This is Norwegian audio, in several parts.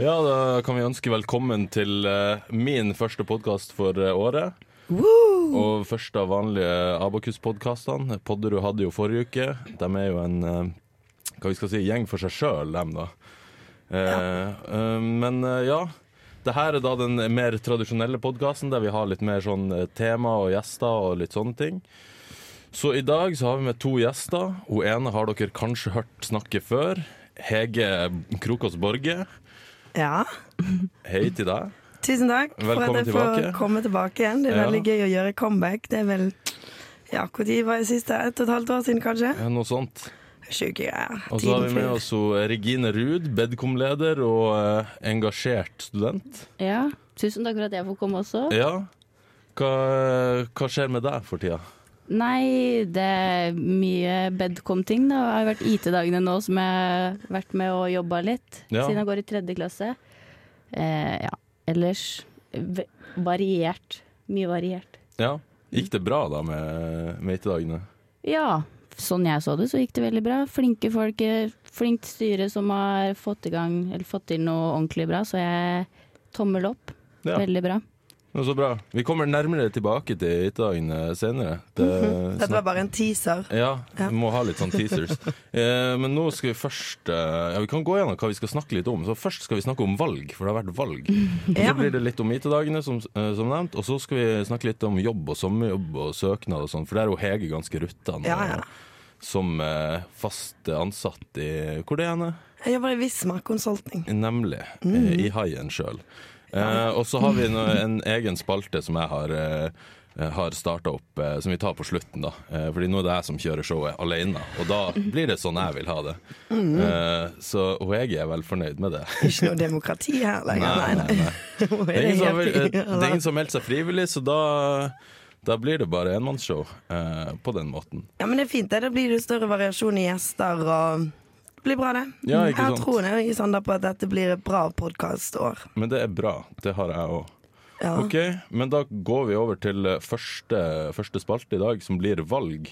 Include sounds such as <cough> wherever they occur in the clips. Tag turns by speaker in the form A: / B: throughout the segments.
A: Ja, da kan vi ønske velkommen til eh, min første podkast for eh, året. Og første av vanlige Abakus-podkastene. Podderud hadde jo forrige uke. De er jo en eh, hva vi skal si, gjeng for seg sjøl, dem, da. Eh, eh, men eh, ja. Det her er da den mer tradisjonelle podkasten, der vi har litt mer sånn eh, tema og gjester og litt sånne ting. Så i dag så har vi med to gjester. Hun ene har dere kanskje hørt snakke før. Hege Krokås Borge.
B: Ja,
A: Hei til deg.
B: tusen takk for at
A: Velkommen
B: jeg får
A: tilbake.
B: komme tilbake igjen. Det er
A: Ja.
B: veldig gøy å gjøre comeback. Det er vel Ja, når var det siste? Ett og et halvt år siden, kanskje?
A: Ja, Noe sånt.
B: Sjuke greier.
A: Og så har
B: Tiden
A: vi med
B: flyr.
A: oss hun Regine Ruud, Bedcom-leder og eh, engasjert student.
C: Ja, tusen takk for at jeg får komme også.
A: Ja. Hva, hva skjer med deg for tida?
C: Nei, det er mye bedcom-ting. Det har vært IT-dagene nå som jeg har vært med og jobba litt,
A: Ja.
C: siden jeg går i tredje klasse. Eh, ja, ellers v- variert. Mye variert.
A: Ja. Gikk det bra da med meitedagene?
C: Ja, sånn jeg så det, så gikk det veldig bra. Flinke folk, eh, flinkt styre som har fått, i gang, eller fått til noe ordentlig bra, så jeg tommel opp.
A: Ja.
C: Veldig bra.
A: Men så bra. Vi kommer nærmere tilbake til meitedagene senere. Det,
B: Dette var bare en teaser.
A: ja,
B: Ja.
A: vi må ha litt sånn teasers. eh, men nå skal vi først eh, Ja, vi kan gå gjennom hva vi skal snakke litt om. Så først skal vi snakke om valg, for det har vært valg. Og så
B: Ja.
A: blir det litt om IT-dagene, som, eh, som nevnt. Og så skal vi snakke litt om jobb og sommerjobb og søknad og sånn, for der er jo Hege ganske rutta nå.
B: Ja, ja.
A: Som eh, fast ansatt i Hvor det er henne?
B: Jeg jobber i Visma
A: <laughs>
B: Consulting.
A: Nemlig. eh,
B: Mm.
A: I Haien sjøl. Eh, og så har vi en, en egen spalte som jeg har, eh, har starta opp, eh, som vi tar på slutten. da eh, Fordi nå er det jeg som kjører showet alene, og da
B: Mm.
A: blir det sånn jeg vil ha det. Eh, så og jeg er vel fornøyd med det.
B: Ikke noe demokrati her lenger, nei. nei.
A: nei.
B: <laughs> Hun
A: Det er ingen som,
B: helt
A: har- det er
B: i-
A: ingen som har meldt seg frivillig, så da, da blir det bare enmannsshow eh, på den måten.
B: Ja, men det er fint. det. Da blir det jo større variasjon i gjester og Det blir bra, det.
A: Ja, ikke
B: jeg
A: sant.
B: tror jeg er Sander på at dette blir et bra podkastår.
A: Men det er bra. Det har jeg òg.
B: Ja.
A: OK, men da går vi over til eh, første, første spalte i dag, som blir valg.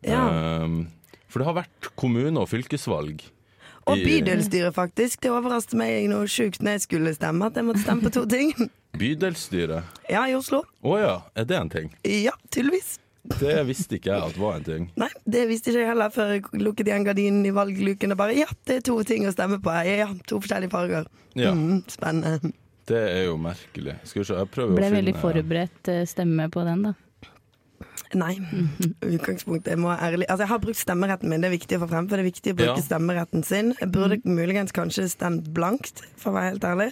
B: Ja.
A: Eh, for det har vært kommune- og fylkesvalg.
B: Og
A: i-
B: bydelsstyret, faktisk. Det overraste meg noe sjukt når jeg skulle stemme, at jeg måtte stemme på to ting. <laughs>
A: Bydelsstyret.
B: Ja, i Oslo.
A: Å ja, er det en ting?
B: Ja, tydeligvis.
A: Det visste ikke jeg at var en ting.
B: Nei, det visste ikke jeg heller før jeg lukket igjen gardinen i valgluken og bare Ja, det er to ting å stemme på. her. Ja, ja, to forskjellige farger.
A: Ja.
B: Mm, spennende.
A: Det er jo merkelig. Skal vi se, jeg prøver
C: Ble
A: å finne
C: veldig forberedt eh, stemme på den, da.
B: Nei. Utgangspunktet jeg må være ærlig Altså, jeg har brukt stemmeretten min, det er viktig å få frem. For det er viktig å bruke
A: Ja.
B: stemmeretten sin. Jeg burde muligens kanskje stemt blankt, for å være helt ærlig.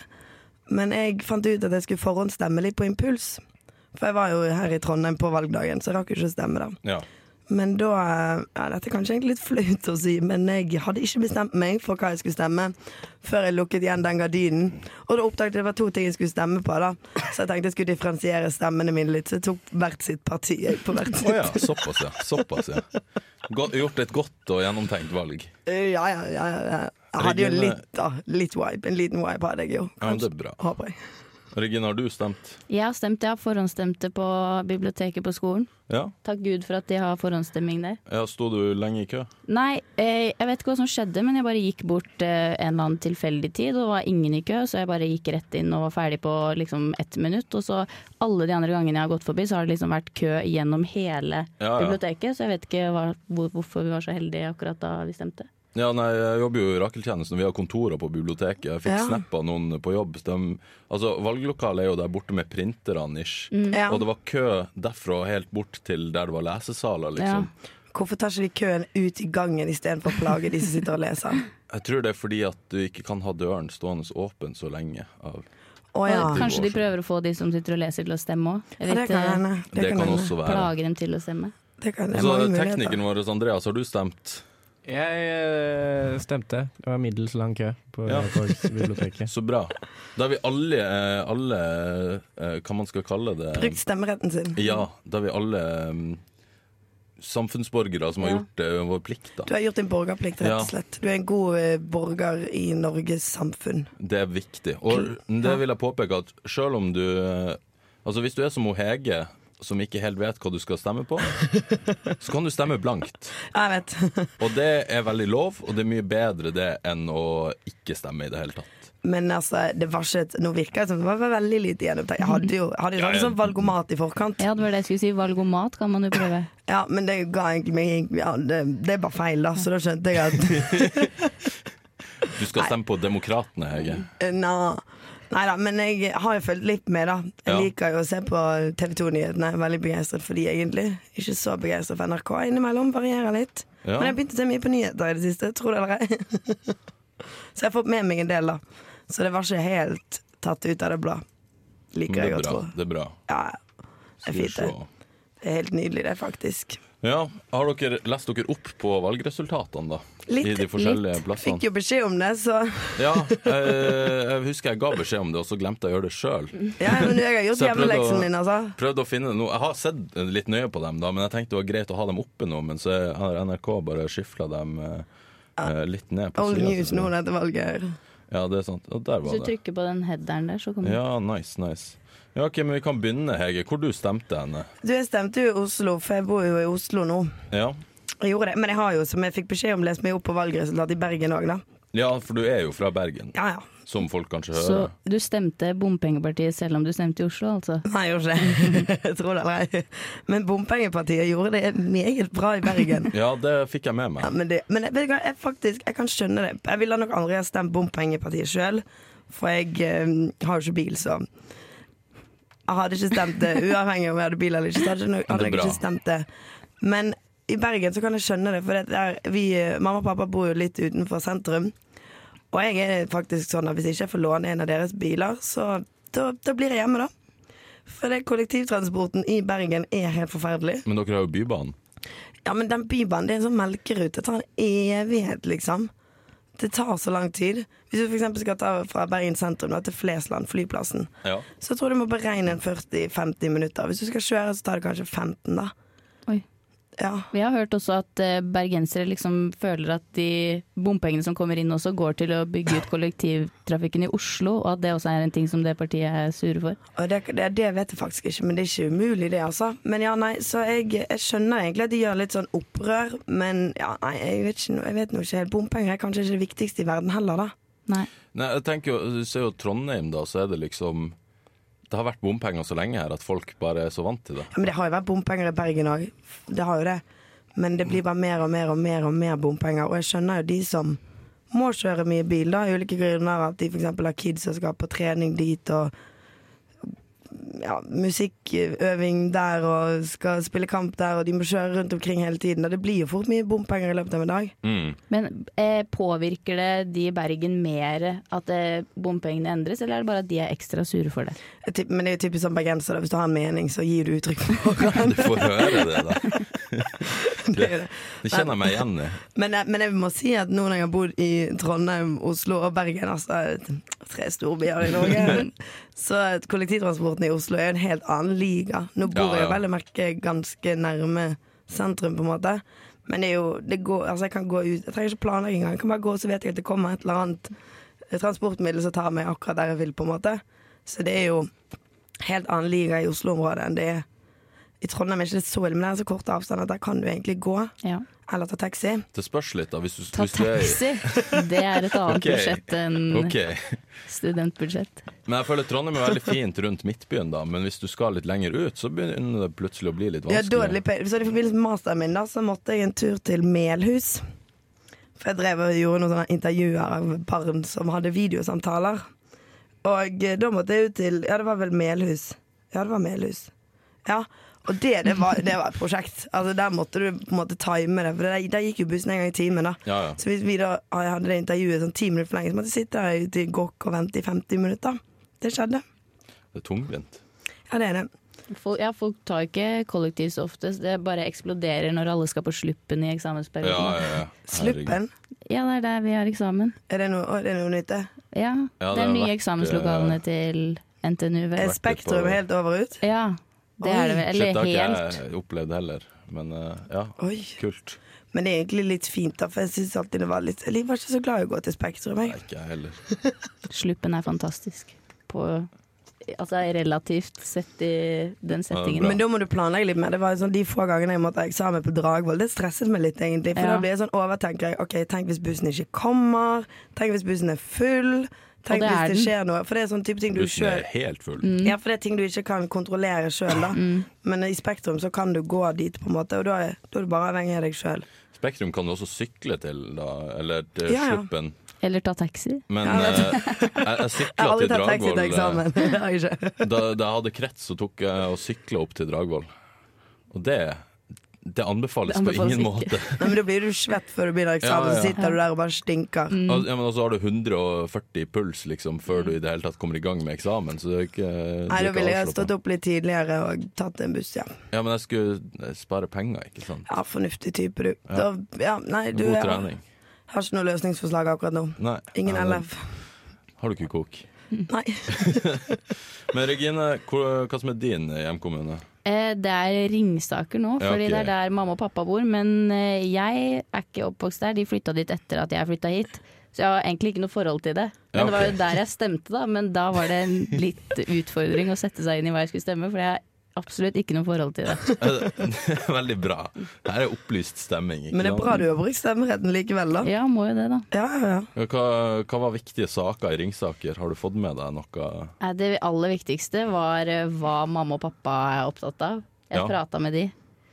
B: Men jeg fant ut at jeg skulle forhåndsstemme litt på impuls. For jeg var jo her i Trondheim på valgdagen, så jeg rakk jo ikke å stemme da.
A: Ja.
B: Men da ja, Dette er kanskje egentlig litt flaut å si, men jeg hadde ikke bestemt meg for hva jeg skulle stemme før jeg lukket igjen den gardinen. Og da oppdaget jeg at det var to ting jeg skulle stemme på, da. Så jeg tenkte jeg skulle differensiere stemmene mine litt, så jeg tok hvert sitt parti. Jeg, på hvert
A: Å
B: sitt.
A: ja, såpass, ja. Såpass, ja. Godt- gjort et godt og gjennomtenkt valg.
B: Eh, Ja, ja, ja. ja. Jeg hadde jo
A: Regine-
B: litt, da. Litt wipe. En liten wipe hadde jeg jo.
A: Ja, men det er bra.
B: Håper jeg.
A: Regine, har du stemt?
C: Jeg har stemt, jeg har forhåndsstemte på biblioteket på skolen.
A: Ja?
C: Takk Gud for at de har forhåndsstemming der.
A: ja Sto du lenge i kø?
C: Nei, eh, jeg vet ikke hva som skjedde, men jeg bare gikk bort eh, en eller annen tilfeldig tid, og det var ingen i kø, så jeg bare gikk rett inn og var ferdig på liksom ett minutt. Og så alle de andre gangene jeg har gått forbi, så har det liksom vært kø gjennom hele
A: Ja, ja.
C: biblioteket, så jeg vet ikke hva, hvor, hvorfor vi var så heldige akkurat da vi stemte.
A: Ja, nei, Jeg jobber jo i Rakeltjenesten, vi har kontorer på biblioteket. Jeg fikk
B: Ja.
A: snap av noen på jobb. De, altså, Valglokalet er jo der borte med printerne, ish.
B: Mm. Ja.
A: Og det var kø derfra og helt bort til der det var lesesaler, liksom.
B: Hvorfor tar ikke de køen ut i gangen istedenfor å plage de som sitter og leser?
A: Jeg tror det er fordi at du ikke kan ha døren stående åpen så lenge. Av.
B: Å ja.
C: Og
A: Kanskje
C: kanskje
A: de
C: de prøver å få de som sitter og leser til å stemme òg.
B: ja. Det
C: eh,
B: kan hende.
A: Det, kan,
B: hende.
A: også altså, være.
C: Plager dem til å stemme.
B: Det kan,
A: Og
B: det er
A: så
B: mange muligheter.
A: teknikeren vår, Andreas, har du stemt?
D: Jeg eh, stemte. Det var middels lang kø på
A: Ja.
D: Korgsbiblioteket.
A: Så bra. Da har vi alle, eh, alle eh, Hva man skal kalle det?
B: Brukt stemmeretten sin.
A: Ja, da har vi alle eh, samfunnsborgere som har
C: Ja.
A: gjort eh, vår plikt.
B: Du
A: da.
B: har gjort din borgerplikt, rett
A: Ja.
B: og slett. Du er en god eh, borger i Norges samfunn.
A: Det er viktig. Og det vil jeg påpeke at selv om du eh, Altså hvis du er som hun Hege, som ikke helt vet hva du skal stemme
B: <laughs>
A: på, så kan du stemme blankt.
B: Jeg vet. <laughs>
A: Og det er veldig lov, og det er mye bedre det enn å ikke stemme i det hele tatt.
B: Men altså, det var ikke et Nå virker det som det var veldig lite gjennomtenkt. Jeg hadde jo jeg hadde jo
A: Ja,
B: sånn,
A: ja.
B: sånn valgomat i forkant.
C: Ja, det var det jeg skulle si. Valgomat kan man jo prøve.
B: Ja, men det ga egentlig meg ja, det, det er bare feil, da, så da skjønte jeg at
A: Du skal stemme på Demokratene, Hege.
B: Nei da, Eh, men jeg har jo fulgt litt med, da. Jeg
A: Ja.
B: liker jo å se på TV 2-nyhetene. Veldig begeistret for de, egentlig. Ikke så begeistret for NRK innimellom. Varierer litt.
A: Ja.
B: Men jeg har begynt å se mye på nyheter i det siste, tror det eller ei. <laughs> så jeg har fått med meg en del, da. Så det var ikke helt tatt ut av det blå.
A: Men
B: Liker
A: det
B: jeg
A: er
B: å
A: bra.
B: tro.
A: Det er bra.
B: Ja, det er
A: Skal vi
B: fint, det.
A: se.
B: Det er helt nydelig, det, faktisk.
A: Ja, Har dere lest dere opp på valgresultatene, da?
B: Litt,
A: I de forskjellige plassene?
B: Fikk jo beskjed om det, så
A: Ja, eh, jeg husker jeg ga beskjed om det, og så glemte jeg å gjøre det sjøl.
B: Ja, men jeg har gjort
A: Så jeg prøvde å-
B: hjemmeleksen min, altså.
A: Prøvde å finne noe Jeg har sett litt nøye på dem, da, men jeg tenkte det var greit å ha dem oppe nå. Men så har NRK bare skyfla dem eh, eh, litt ned på
B: Old
A: siden,
B: news nå
A: selvfølgelig.
B: dette valget. her.
A: Ja, det er sant. Og der
C: Hvis
A: var
C: du
A: det.
C: trykker på den headeren der, så kommer
A: Ja, nice, nice. Ja, ok, men Vi kan begynne, Hege. Hvor du stemte henne?
B: Du, jeg stemte jo i Oslo, for jeg bor jo i Oslo nå.
A: Ja,
B: Jeg gjorde det, Men jeg har jo, som jeg fikk beskjed om, lest meg opp på valgresultatet i Bergen òg, da.
A: ja for du er jo fra Bergen,
B: Ja ja.
A: som folk kanskje
C: Så
A: hører.
C: du stemte bompengepartiet selv om du stemte i Oslo, altså?
B: Nei, jeg gjorde ikke <laughs> det. jeg tror det eller ei. Men bompengepartiet gjorde det meget bra i Bergen.
A: Ja, det fikk jeg med
B: Ja,
A: meg.
B: men det, men jeg, vet du hva, jeg faktisk, jeg kan skjønne det. Jeg ville nok aldri ha stemt bompengepartiet sjøl, for jeg eh, har jo ikke bil, så Jeg hadde ikke stemt
A: <laughs>
B: det, uavhengig om jeg hadde bil eller ikke. Så hadde jeg nok- hadde
A: Det er
B: jeg
A: bra.
B: ikke stemt det. Men i Bergen så kan jeg skjønne det, for det er, vi, eh, mamma og pappa bor jo litt utenfor sentrum. Og jeg er faktisk sånn at hvis ikke jeg får låne en av deres biler, så da, da blir jeg hjemme, da. For det, kollektivtransporten i Bergen er helt forferdelig.
A: Men dere har jo Bybanen.
B: Ja, men den bybanen, det er en sånn melkerute. Det tar en evighet, liksom. Det tar så lang tid. Hvis du f.eks. skal ta fra Bergen sentrum da, til Flesland, flyplassen,
A: Ja.
B: så tror jeg du må beregne en 40-50 minutter. Hvis du skal kjøre, så tar det kanskje 15, da.
C: Oi.
B: Ja.
C: Vi har hørt også at eh, bergensere liksom føler at de bompengene som kommer inn også går til å bygge ut kollektivtrafikken i Oslo, og at det også er en ting som det partiet er sure for.
B: Og det, det, det vet jeg faktisk ikke, men det er ikke umulig, det, altså. Men ja, nei, så jeg, jeg skjønner egentlig at de gjør litt sånn opprør, men ja, nei, jeg vet ikke, noe- jeg vet nå ikke helt. Bompenger er kanskje ikke det viktigste i verden heller, da.
C: Nei.
A: Nei, jeg tenker jo, du ser jo Trondheim da, så er det liksom Det har vært bompenger så lenge her at folk bare er så vant til det.
B: Ja, men det har jo vært bompenger i Bergen òg. Det har jo det. Men det blir bare mer og mer og mer og mer bompenger. Og jeg skjønner jo de som må kjøre mye bil, da. av Ulike grunner. At de f.eks. har kids som skal på trening dit, og ja, musikkøving der, og skal spille kamp der, og de må kjøre rundt omkring hele tiden. Og det blir jo fort mye bompenger i løpet av en dag.
A: Mm.
C: Men eh, påvirker det de i Bergen mer at eh, bompengene endres, eller er det bare at de er ekstra sure for det?
B: Jeg tipp- Men det er jo typisk sånn bergenser, da. Hvis du har en mening, så gir du uttrykk for
A: <laughs> Du får høre det, da.
B: det. er jo det.
A: Det kjenner jeg meg igjen i.
B: Men, jeg- men jeg må si at nå når jeg har bodd i Trondheim, Oslo og Bergen, altså tre storbyer i
A: <laughs>
B: Norge, så at kollektivtransporten i Oslo er en helt annen liga. Nå bor
A: Ja,
B: jeg
A: ja.
B: vel å merke ganske nærme sentrum, på en måte. Men det er jo det går, altså jeg kan gå ut Jeg trenger ikke planlegge engang. Jeg kan bare gå, så vet jeg at det kommer et eller annet eh, transportmiddel som tar meg akkurat der jeg vil, på en måte. Så det er jo helt annen liga i Oslo-området enn det er i Trondheim. Er ikke det så ille, men det er så korte avstander at der kan du egentlig gå
C: Ja.
B: eller ta taxi.
A: Det spørs litt, da. Hvis du,
C: Ta
A: hvis du er i-
C: taxi! Det er et annet
A: Ok.
C: budsjett enn
A: Ok.
C: studentbudsjett.
A: Men jeg føler Trondheim er veldig fint rundt Midtbyen, da. Men hvis du skal litt lenger ut, så begynner det plutselig å bli litt
B: Ja, dårlig
A: vanskelig.
B: pe- Så i forbindelse med masteren min da, så måtte jeg en tur til Melhus. For jeg drev og gjorde noen sånne intervjuer av barn som hadde videosamtaler. Og eh, da måtte jeg ut til Ja, det var vel Melhus. Ja, det var Melhus. Ja. Og det, det, var, det var et prosjekt. Altså Der måtte du på en måte time det. For der, der gikk jo bussen en gang i timen. da
A: Ja, ja.
B: Så hvis vi da ah, jeg hadde det intervjuet sånn ti minutter for lenge, så måtte jeg sitte her ute i gokk og vente i 50 minutter. Det skjedde.
A: Det er tungvint.
B: Ja, det er det.
C: Folk, ja, folk tar ikke kollektiv så ofte, så det bare eksploderer når alle skal på sluppen i eksamensperioden.
A: Ja, ja, ja. Herregud.
B: Sluppen.
C: Ja, det er der vi har eksamen.
B: Er det noe, å, det er noe nytt, det?
C: Ja,
A: Ja,
C: det
A: det
C: er
A: har
C: nye
A: vært,
C: eksamenslokalene
A: eh,
C: til NTNU.
B: Er
A: vært det
C: Vel?
A: på-
B: Eh, Spektrum helt over ut?
C: Ja, det
B: Oi.
C: er det vel.
A: Shit, det
C: Eller
A: har ikke
C: helt.
A: jeg opplevd heller. Men eh, ja,
B: Oi.
A: kult.
B: Men det er egentlig litt fint, da, for jeg synes alltid det var litt Jeg var ikke så glad i å gå til Spektrum,
A: Nei,
B: jeg.
A: ikke jeg heller.
C: Sluppen er fantastisk. På, altså relativt sett i den settingen.
A: bra.
B: Men da må du planlegge litt mer. Det var jo sånn De få gangene jeg måtte ha eksamen på Dragvoll, det stresset meg litt, egentlig. For
C: Ja.
B: da blir jeg sånn overtenker jeg. OK, tenk hvis bussen ikke kommer. Tenk hvis bussen er full. Tenk
C: det
B: hvis det
C: er den. Mm.
B: skjer noe. For det er sånn type ting du
A: Bussen
B: sjøl
A: er helt full.
B: Ja, for det er ting du ikke kan kontrollere sjøl, da. Men i Spektrum så kan du gå dit, på en måte, og da er, da er du bare avhengig av deg sjøl.
A: Spektrum kan du også sykle til, da, eller til
B: Ja, ja.
A: Sluppen.
C: Eller ta taxi.
A: Men
B: Ja,
A: eh, jeg,
B: <laughs>
A: jeg
B: Jeg har
A: sykla
B: aldri
A: til
B: tatt taxi
A: Dragvoll.
B: til
A: eh,
B: eksamen. <laughs> Det har jeg
A: <laughs>
B: ikke.
A: Da, da jeg hadde krets, så tok jeg og sykla opp til Dragvoll. Og det, det anbefales,
C: Det anbefales
A: på ingen
C: ikke.
A: måte.
B: <laughs> Nei, men da blir du svett før du begynner eksamen,
A: Ja, ja.
B: så sitter du der og bare stinker.
C: Mm.
A: Al- Ja, men også har du 140 i puls liksom, før du i det hele tatt kommer i gang med eksamen. Så det er ikke,
B: Nei, da ville jeg stått opp litt tidligere og tatt en buss, ja.
A: Ja, men jeg skulle eh, spare penger, ikke sant.
B: Ja, fornuftig type, du. Da, ja, nei, du
A: God
B: jeg
A: trening.
B: har ikke noe løsningsforslag akkurat nå.
A: Nei.
B: Ingen
A: Nei,
B: LF.
A: Har du ikke kok?
B: Nei.
A: Men Regine, hvor, hva som er din hjemkommune?
C: Eh, det er Ringsaker nå,
A: Ja,
C: fordi
A: ok.
C: det er der mamma og pappa bor. Men eh, jeg er ikke oppvokst der, de flytta dit etter at jeg flytta hit. Så jeg har egentlig ikke noe forhold til det. Men
A: Ja,
C: det var jo
A: ok.
C: der jeg stemte, da. Men da var det en
A: <laughs>
C: litt utfordring å sette seg inn i hva jeg skulle stemme, for jeg har absolutt ikke noe forhold til det.
A: Eh, <laughs> Veldig bra. Her er opplyst stemming. ikke
B: Men det er
A: sant?
B: bra du har brukt stemmeretten likevel, da.
C: Ja, må jo det, da.
B: Ja, ja, ja.
A: Ja, Hva, hva var viktige saker i Ringsaker? Har du fått med deg noe?
C: Nei, Det aller viktigste var eh, hva mamma og pappa er opptatt av. Jeg
A: Ja.
C: prata med de.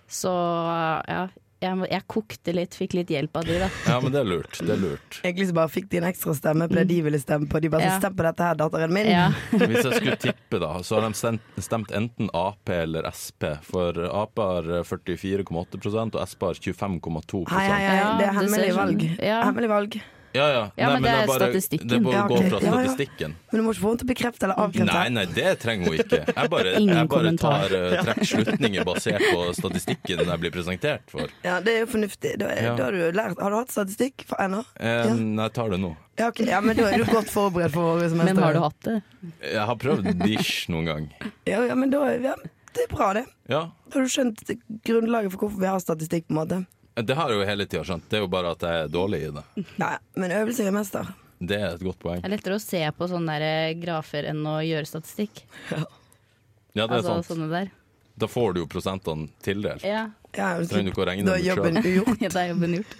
C: Så ja, jeg, jeg kokte litt, fikk litt hjelp av de, da.
A: Ja, men det er lurt. Det er lurt.
B: Egentlig så liksom bare fikk de en ekstra stemme på det de ville stemme på. De bare
C: Mm. Ja.
B: så stem på dette her, datteren min.
C: Ja.
A: Hvis jeg skulle tippe, da, så har de stemt, stemt enten Ap eller Sp. For Ap har 44,8 og Sp har 25,2
B: Hei, hei, hei.
C: Ja,
B: Det er
C: du
B: hemmelig
C: ser sånn.
B: valg.
C: Ja.
B: Hemmelig valg.
A: Ja, ja.
C: Ja, men det er
A: bare-
C: statistikken.
A: Det må
B: Ja,
A: gå
B: ok.
A: fra
B: Ja, ja.
A: statistikken.
B: Men du må ikke få henne til å bekrefte eller avkrefte.
A: Nei, nei, det trenger hun ikke. Jeg bare,
C: Ingen
A: jeg bare
C: kommentar.
A: tar eh, trekk slutninger basert på statistikken jeg blir presentert for.
B: Ja, det er jo fornuftig. Da, er,
A: Ja.
B: da har du lært Har du hatt statistikk for ennå?
A: Eh,
B: Ja.
A: Nei, jeg tar det nå.
B: Ja, ok. ja, men da er du godt forberedt for året som
C: Men har du hatt det?
A: Jeg har prøvd dish noen gang.
B: Ja, ja, men da ja, Det er bra, det.
A: Ja,
B: Da har du skjønt grunnlaget for hvorfor vi har statistikk, på en måte.
A: det har jeg jo hele tida skjønt. Det er jo bare at jeg er dårlig i det.
B: Nei, men øvelse gjør mester.
A: Det er et godt poeng.
C: Det er lettere å se på sånne der eh, grafer enn å gjøre statistikk.
A: Ja, det er
C: altså
A: sant.
C: sånne der.
A: Da får du jo prosentene tildelt.
C: <laughs> Ja,
B: Ja, ja,
A: Trenger du ikke å regne
B: da
A: dem
B: er
A: ut <laughs>
B: jobben ugjort.
C: det er jobben gjort.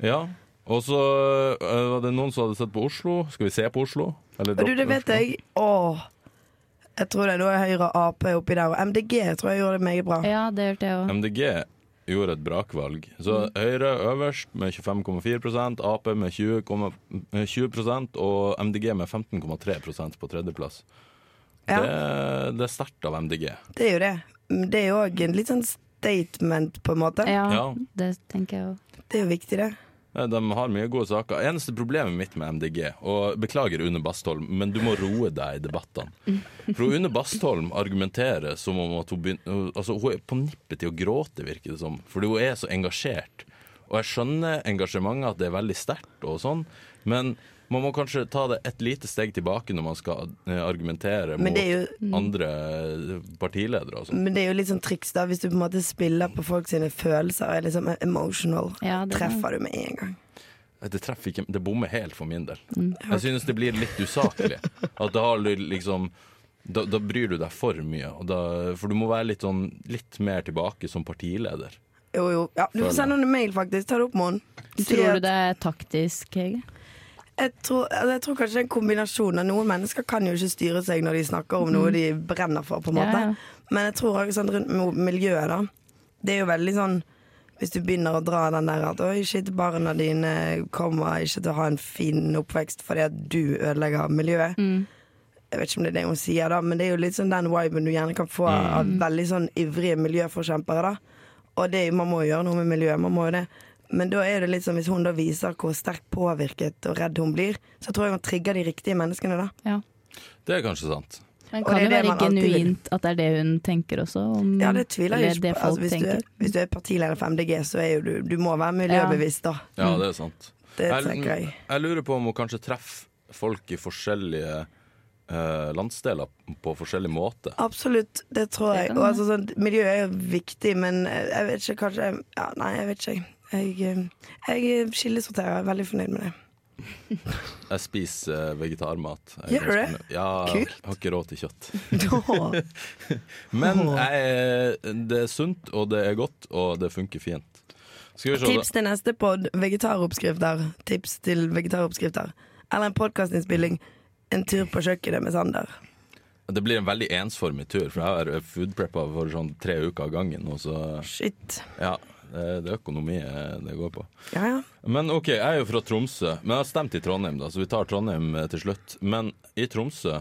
A: Ja. Og så øh, var det noen som hadde sett på Oslo. Skal vi se på Oslo? Eller
B: Og du,
A: droppe
B: det vet
A: Oslo?
B: jeg. Åh. Jeg tror det nå er Høyre og Ap oppi der, og MDG tror jeg gjorde det meget bra.
C: Ja, det hørte jeg òg.
A: MDG gjorde et brakvalg. Så
B: Mm.
A: Høyre øverst med 25,4 Ap med 20, komma- eh, 20 og MDG med 15,3 på tredjeplass.
B: Ja.
A: Det, det er sterkt av MDG.
B: Det er jo det. Men Det er jo òg en litt sånn statement, på en måte.
C: Ja,
A: Ja.
C: det tenker jeg òg.
B: Det er jo viktig, det.
A: Eh, De har mye gode saker. Eneste problemet mitt med MDG, og beklager Une Bastholm, men du må roe deg i debattene. For Une Bastholm argumenterer som om at hun begynner Altså, hun er på nippet til å gråte, virker det som, fordi hun er så engasjert. Og jeg skjønner engasjementet, at det er veldig sterkt og sånn, men man må kanskje ta det et lite steg tilbake når man skal eh, argumentere
B: Men
A: mot
B: det er
A: andre partiledere og sånn.
B: Men det er jo litt sånn triks, da, hvis du på en måte spiller på folk sine følelser og er liksom emotional.
C: Ja, det er-
B: treffer du med en gang.
A: Det treffer ikke Det bommer helt for min del.
B: Mm.
A: Jeg synes det blir litt usaklig. At da, har du liksom, da, da bryr du deg for mye. Og da, for du må være litt, sånn, litt mer tilbake som partileder.
B: Jo, jo. Ja, du får
A: Føler.
B: sende henne en mail, faktisk. Ta det opp med henne. Si
C: Tror
B: at-
C: du det er taktisk, Hege?
B: Jeg tror, altså, jeg tror kanskje det er en kombinasjon av noen mennesker kan jo ikke styre seg når de snakker om noe de brenner for, på en
C: Mm. Ja,
B: måte.
C: ja.
B: Men jeg tror også sånn rundt mo- miljøet, da. Det er jo veldig sånn hvis du begynner å dra den der at 'oi, shit, barna dine kommer ikke til å ha en fin oppvekst fordi at du ødelegger miljøet'. Jeg vet ikke om det er det hun sier, da, men det er jo litt sånn den viben du gjerne kan få av veldig sånn ivrige miljøforkjempere. da. Og det, er jo- man må jo gjøre noe med miljøet, man må jo det. Men da er det litt sånn, hvis hun da viser hvor sterkt påvirket og redd hun blir, så tror jeg hun trigger de riktige menneskene da.
C: Ja.
A: Det er kanskje sant.
C: Men
B: Og
C: kan
B: det er
C: det
B: det
C: være
B: man alltid vil.
C: genuint at det er det hun tenker også? Om,
B: Ja, det tviler jeg
C: Mm. eller
B: ikke
C: det
B: på.
C: folk
B: Altså, hvis, du er,
C: tenker.
B: hvis du er partileder for MDG, så er jo du Du må være miljøbevisst, da.
A: Ja, det er sant.
B: Det
A: Jeg,
B: tenker jeg.
A: jeg lurer på om hun kanskje treffer folk i forskjellige eh, landsdeler på forskjellig måte.
B: Absolutt, det tror
C: Det
B: jeg.
C: kan
B: Og
C: hende.
B: altså, sånn, miljø er jo viktig, men eh, jeg vet ikke, kanskje ja, Nei, jeg vet ikke. Jeg, eh, jeg skillesorterer, jeg er veldig fornøyd med det.
A: Jeg spiser eh, vegetarmat. Jeg er
B: Gjør du
A: ganske
B: det?
A: fornøyd. Ja,
B: Kult.
A: jeg har ikke råd til kjøtt.
B: Da,
A: Men jeg, er- det er sunt, og det er godt, og det funker fint. Skal vi se
B: tips til neste pod, vegetaroppskrifter. Tips til vegetaroppskrifter. Eller en podkastinnspilling. En tur på kjøkkenet med Sander.
A: da. Det blir en veldig ensformig tur, for jeg har foodpreppa for sånn tre uker av gangen. Og så,
B: Shit.
A: ja, det det er økonomi eh, det går på.
B: Ja, ja.
A: Men ok, jeg er jo fra Tromsø, men jeg har stemt i Trondheim, da, så vi tar Trondheim eh, til slutt. Men i Tromsø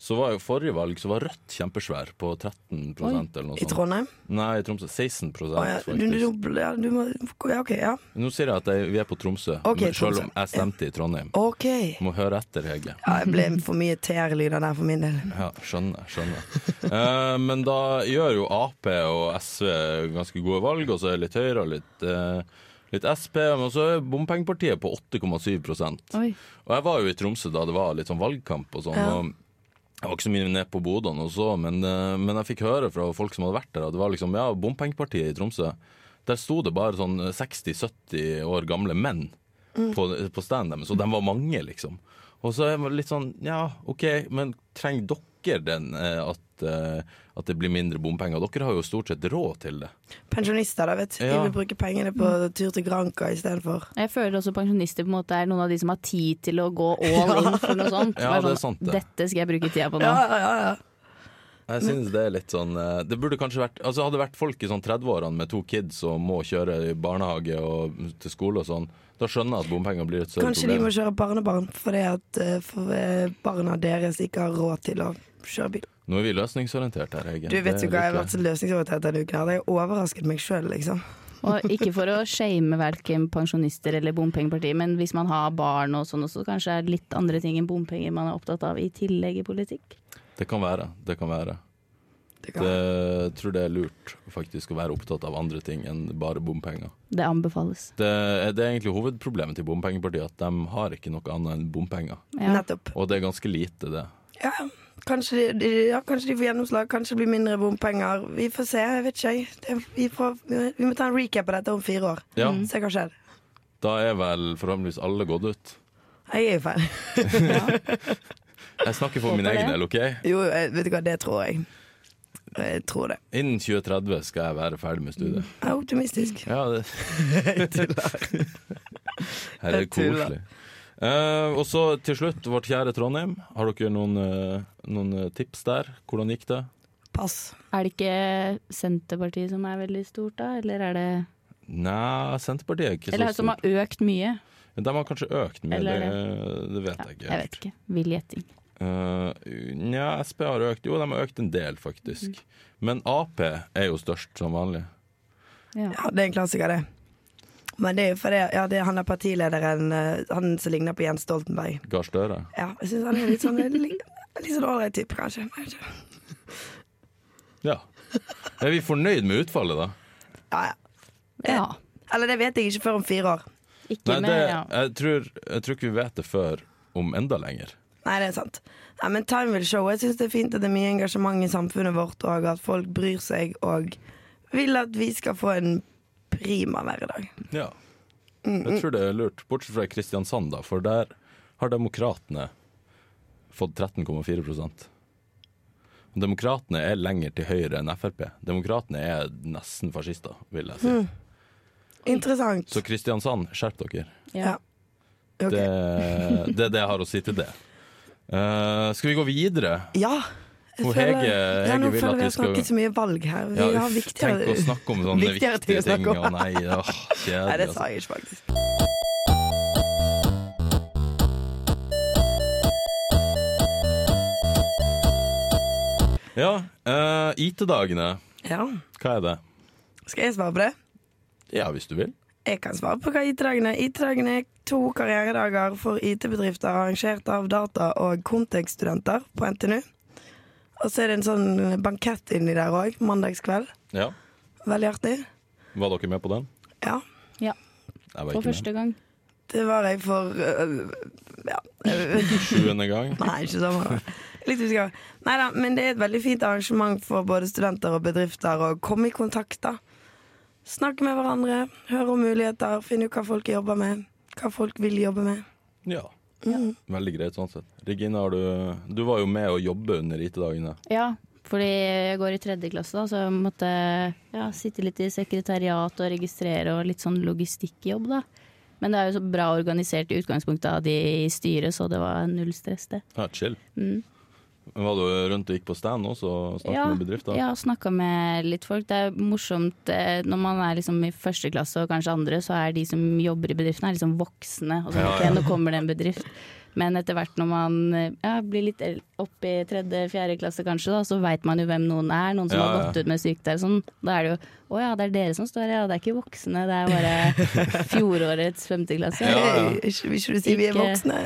A: så var jo forrige valg så var Rødt kjempesvær, på 13 eller noe
B: I
A: sånt.
B: Trondheim?
A: Nei, i Tromsø 16
B: Å, ja. Du, du,
A: faktisk.
B: du, ja, du må Ja, OK. Ja.
A: Nå sier jeg at jeg, vi er på Tromsø,
B: Ok,
A: men selv om
B: Tromsø.
A: jeg stemte i Trondheim.
B: Ok.
A: Må høre etter, Hege.
B: Ja, jeg ble for mye TR-lyder der for min del.
A: Ja, skjønner. skjønner. Eh, men da gjør jo Ap og SV ganske gode valg, og så er det litt Høyre og litt, eh, litt SP. Men så er bompengepartiet på 8,7
C: Oi.
A: Og jeg var jo i Tromsø da det var litt sånn valgkamp og sånn.
B: Ja.
A: og jeg var ikke så mye ned på bodene og så, men, eh, men jeg fikk høre fra folk som hadde vært der, at det var liksom, ja, bompengepartiet i Tromsø, der sto det bare sånn 60-70 år gamle menn på, på standen deres, og de var mange, liksom. Og så er man litt sånn, ja, OK, men trenger dere den eh, at, eh, at det blir mindre bompenger? Dere har jo stort sett råd til det.
B: Pensjonister, da, vet du. De
A: Ja.
B: vil bruke pengene på tur til Granca istedenfor.
C: Jeg føler også pensjonister på en måte er noen av de som har tid til å gå <laughs> all in for noe sånt.
A: Ja, det
C: Bare sånn,
A: er sant, det.
C: Dette skal jeg bruke tida
A: Sånn,
C: på nå.
B: Ja, ja, ja, ja.
A: Jeg synes det er litt sånn eh, Det burde kanskje vært Altså Hadde det vært folk i sånn 30-årene med to kids og må kjøre i barnehage og til skole og sånn, da skjønner jeg at bompenger blir et større
B: Kanskje de
A: problem.
B: må kjøre barnebarn fordi at eh, for eh, barna deres ikke har råd til å kjøre bil.
A: Nå er vi løsningsorientert her, Hege.
B: Du vet jo
A: Det
B: hva jeg har
A: liker
B: vært så løsningsorientert denne uken. her. Jeg har overrasket meg sjøl, liksom.
C: Og ikke for å shame verken pensjonister eller bompengepartiet, men hvis man har barn og sånn også, kanskje er det litt andre ting enn bompenger man er opptatt av i tillegg i politikk.
A: Det kan være. Det kan være.
B: Det
A: Det,
B: kan.
A: jeg tror det er lurt faktisk å være opptatt av andre ting enn bare bompenger.
C: Det anbefales.
A: Det, er- det er egentlig hovedproblemet til bompengepartiet, at de har ikke noe annet enn bompenger.
C: Ja.
B: Nettopp.
A: Og det er ganske lite, det.
B: Ja, kanskje de, de, ja, kanskje de får gjennomslag, kanskje det blir mindre bompenger. Vi får se, jeg vet ikke. jeg. Det, vi, får, vi må ta en recap på dette om fire år.
A: Ja,
B: Se hva skjer.
A: da er vel forhåpentligvis alle gått ut.
B: Jeg er jo ferdig.
A: Jeg snakker for min
C: Håper det.
A: egen del, OK?
B: Jo, jeg- vet du hva, det tror jeg. Jeg tror det.
A: Innen 2030 skal jeg være ferdig med studiet.
C: Mm.
B: Jeg er optimistisk.
A: Ja, det
B: <laughs>
A: Her er det
B: Jeg tuller.
A: koselig. Eh, og så til slutt, vårt kjære Trondheim. Har dere noen, eh, noen eh, tips der? Hvordan gikk det?
B: Pass.
C: Er det ikke Senterpartiet som er veldig stort da, eller er det
A: Nei, Senterpartiet er ikke
C: Eller er
A: så
C: det som
A: stort.
C: har økt mye?
A: De har kanskje økt mye,
C: Eller-
A: det, det vet
C: Ja,
A: jeg ikke
C: jeg
A: helt.
C: vet ikke. Vill gjetting.
A: Eh, Nja, Sp har økt. Jo, de har økt en del,
C: Mhm.
A: faktisk. Men Ap er jo størst, som vanlig.
C: Ja.
B: Ja, det er en klassiker, det. Men det er jo fordi ja, det er han er partilederen, eh, han som ligner på Jens Stoltenberg.
A: Gahr Støre.
B: Ja, jeg syns han er litt sånn Litt, litt sånn ålreit type, kanskje. Jeg vet ikke.
C: <laughs>
A: Ja. Er vi fornøyd med utfallet, da?
B: Ja, ja.
C: ja.
B: Eller det vet jeg ikke før om fire år.
C: Ikke
A: Nei, det,
C: med ja.
A: jeg, tror, jeg tror ikke vi vet det før om enda lenger.
B: Nei, det er sant. Nei, men time will show. Jeg syns det er fint at det er mye engasjement i samfunnet vårt, og at folk bryr seg og vil at vi skal få en prima hverdag.
A: Ja. Jeg tror det er lurt, bortsett fra Kristiansand, da, for der har Demokratene fått 13,4 Og Demokratene er lenger til høyre enn Frp. Demokratene er nesten fascister, vil jeg si.
B: Mm. Interessant.
A: Så eh, Kristiansand, skjerp dere.
B: Ja. Ok.
A: Det, det er det jeg har å si til det. Eh, skal vi gå videre?
B: Ja. jeg
A: Og
B: føler-
A: Hege-
B: ja,
A: Hege
B: nå
A: vil
B: føler
A: at
B: vi
A: vi
B: har
A: skal-
B: snakket så mye valg her. Vi
A: Ja,
B: har
A: uff,
B: viktigere
A: Tenk å snakke om sånne
B: viktigere
A: viktige
B: ting å
A: ting.
B: snakke om.
A: Å nei, åh, kjedelig.
B: Nei, det
A: altså.
B: sa jeg ikke, faktisk.
A: Ja, eh, IT-dagene,
B: Ja.
A: hva er det?
B: Skal jeg svare på det?
A: Ja, hvis du vil.
B: Jeg kan svare på hva IT-dagene er. IT-dagene er to karrieredager for IT-bedrifter arrangert av data- og Contex-studenter på NTNU. Og så er det en sånn bankett inni der òg, mandagskveld.
A: Ja.
B: Veldig artig.
A: Var dere med på den?
B: Ja.
C: ja.
A: Jeg var
C: For
A: ikke med.
C: første gang.
B: Det var jeg for øh, Ja. øh,
A: Sjuende gang.
B: Nei, ikke sommer. Litt usikker. Neida, men det er et veldig fint arrangement for både studenter og bedrifter å komme i kontakt. da. Snakke med hverandre, høre om muligheter, finne ut hva folk jobber med. Hva folk vil jobbe med.
A: <laughs> Ja. Veldig greit sånn sett. Regina, har du, du var jo med å jobbe under IT-dagene.
C: Ja, fordi jeg går i tredje klasse, da, så jeg måtte ja, sitte litt i sekretariat og registrere og litt sånn logistikkjobb, da. Men det er jo så bra organisert i utgangspunktet av de i styret, så det var null stress, det.
A: Ja, chill.
C: Mm.
A: Men Var du rundt og gikk på stand også og snakket med bedrifter?
C: ja snakka med litt folk. Det er morsomt eh, når man er liksom i første klasse og kanskje andre, så er de som jobber i bedriften er liksom voksne. Og sånn,
A: Ja,
C: ok,
A: ja.
C: nå kommer det en bedrift. Men etter hvert når man eh, ja, blir litt el- opp i tredje, fjerde klasse kanskje, da, så veit man jo hvem noen er. Noen som
A: Ja,
C: har
A: ja.
C: gått ut med sykdom. Sånn. Da er det jo å ja, det er dere som står her, ja. Det er ikke voksne, det er
A: <laughs>
C: bare fjorårets femteklasse.
A: Ja, ja.
B: Hey, ikke, vil ikke du si vi er
C: Ikke-
B: voksne?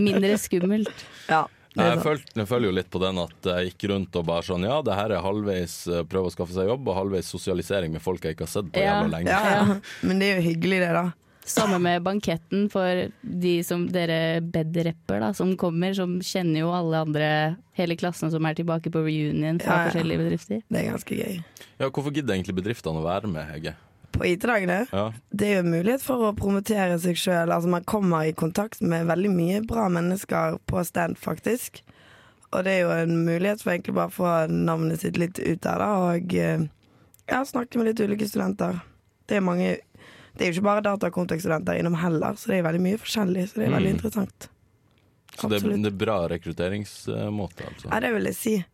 C: Mindre skummelt.
B: Ja, det
A: Nei,
B: er
A: jeg,
B: sant.
A: følte, jeg føler jo litt på den at jeg gikk rundt og bare sånn Ja, det her er halvveis eh, prøve å skaffe seg jobb, og halvveis sosialisering med folk jeg ikke har sett på
C: Ja.
A: jævla lenge.
B: Ja, ja. Men det er jo hyggelig, det, da.
C: Samme med banketten for de som dere bedrapper, da, som kommer. Som kjenner jo alle andre, hele klassen som er tilbake på reunion fra
B: Ja, ja.
C: forskjellige bedrifter.
B: Det er ganske gøy.
A: Ja, hvorfor gidder egentlig bedriftene å være med, Hege?
B: På IT-dagene
A: Ja,
B: Det er jo en mulighet for å promotere seg sjøl. Altså, man kommer i kontakt med veldig mye bra mennesker på stand, faktisk. Og det er jo en mulighet for egentlig bare å få navnet sitt litt ut der, da, og eh, ja, snakke med litt ulike studenter. Det er mange Det er jo ikke bare data- og kontekststudenter innom heller, så det er veldig mye forskjellig, så det er veldig
A: Mm.
B: interessant.
A: så det,
B: Absolutt.
A: det er bra rekrutteringsmåte, altså.
B: Ja, det vil jeg si.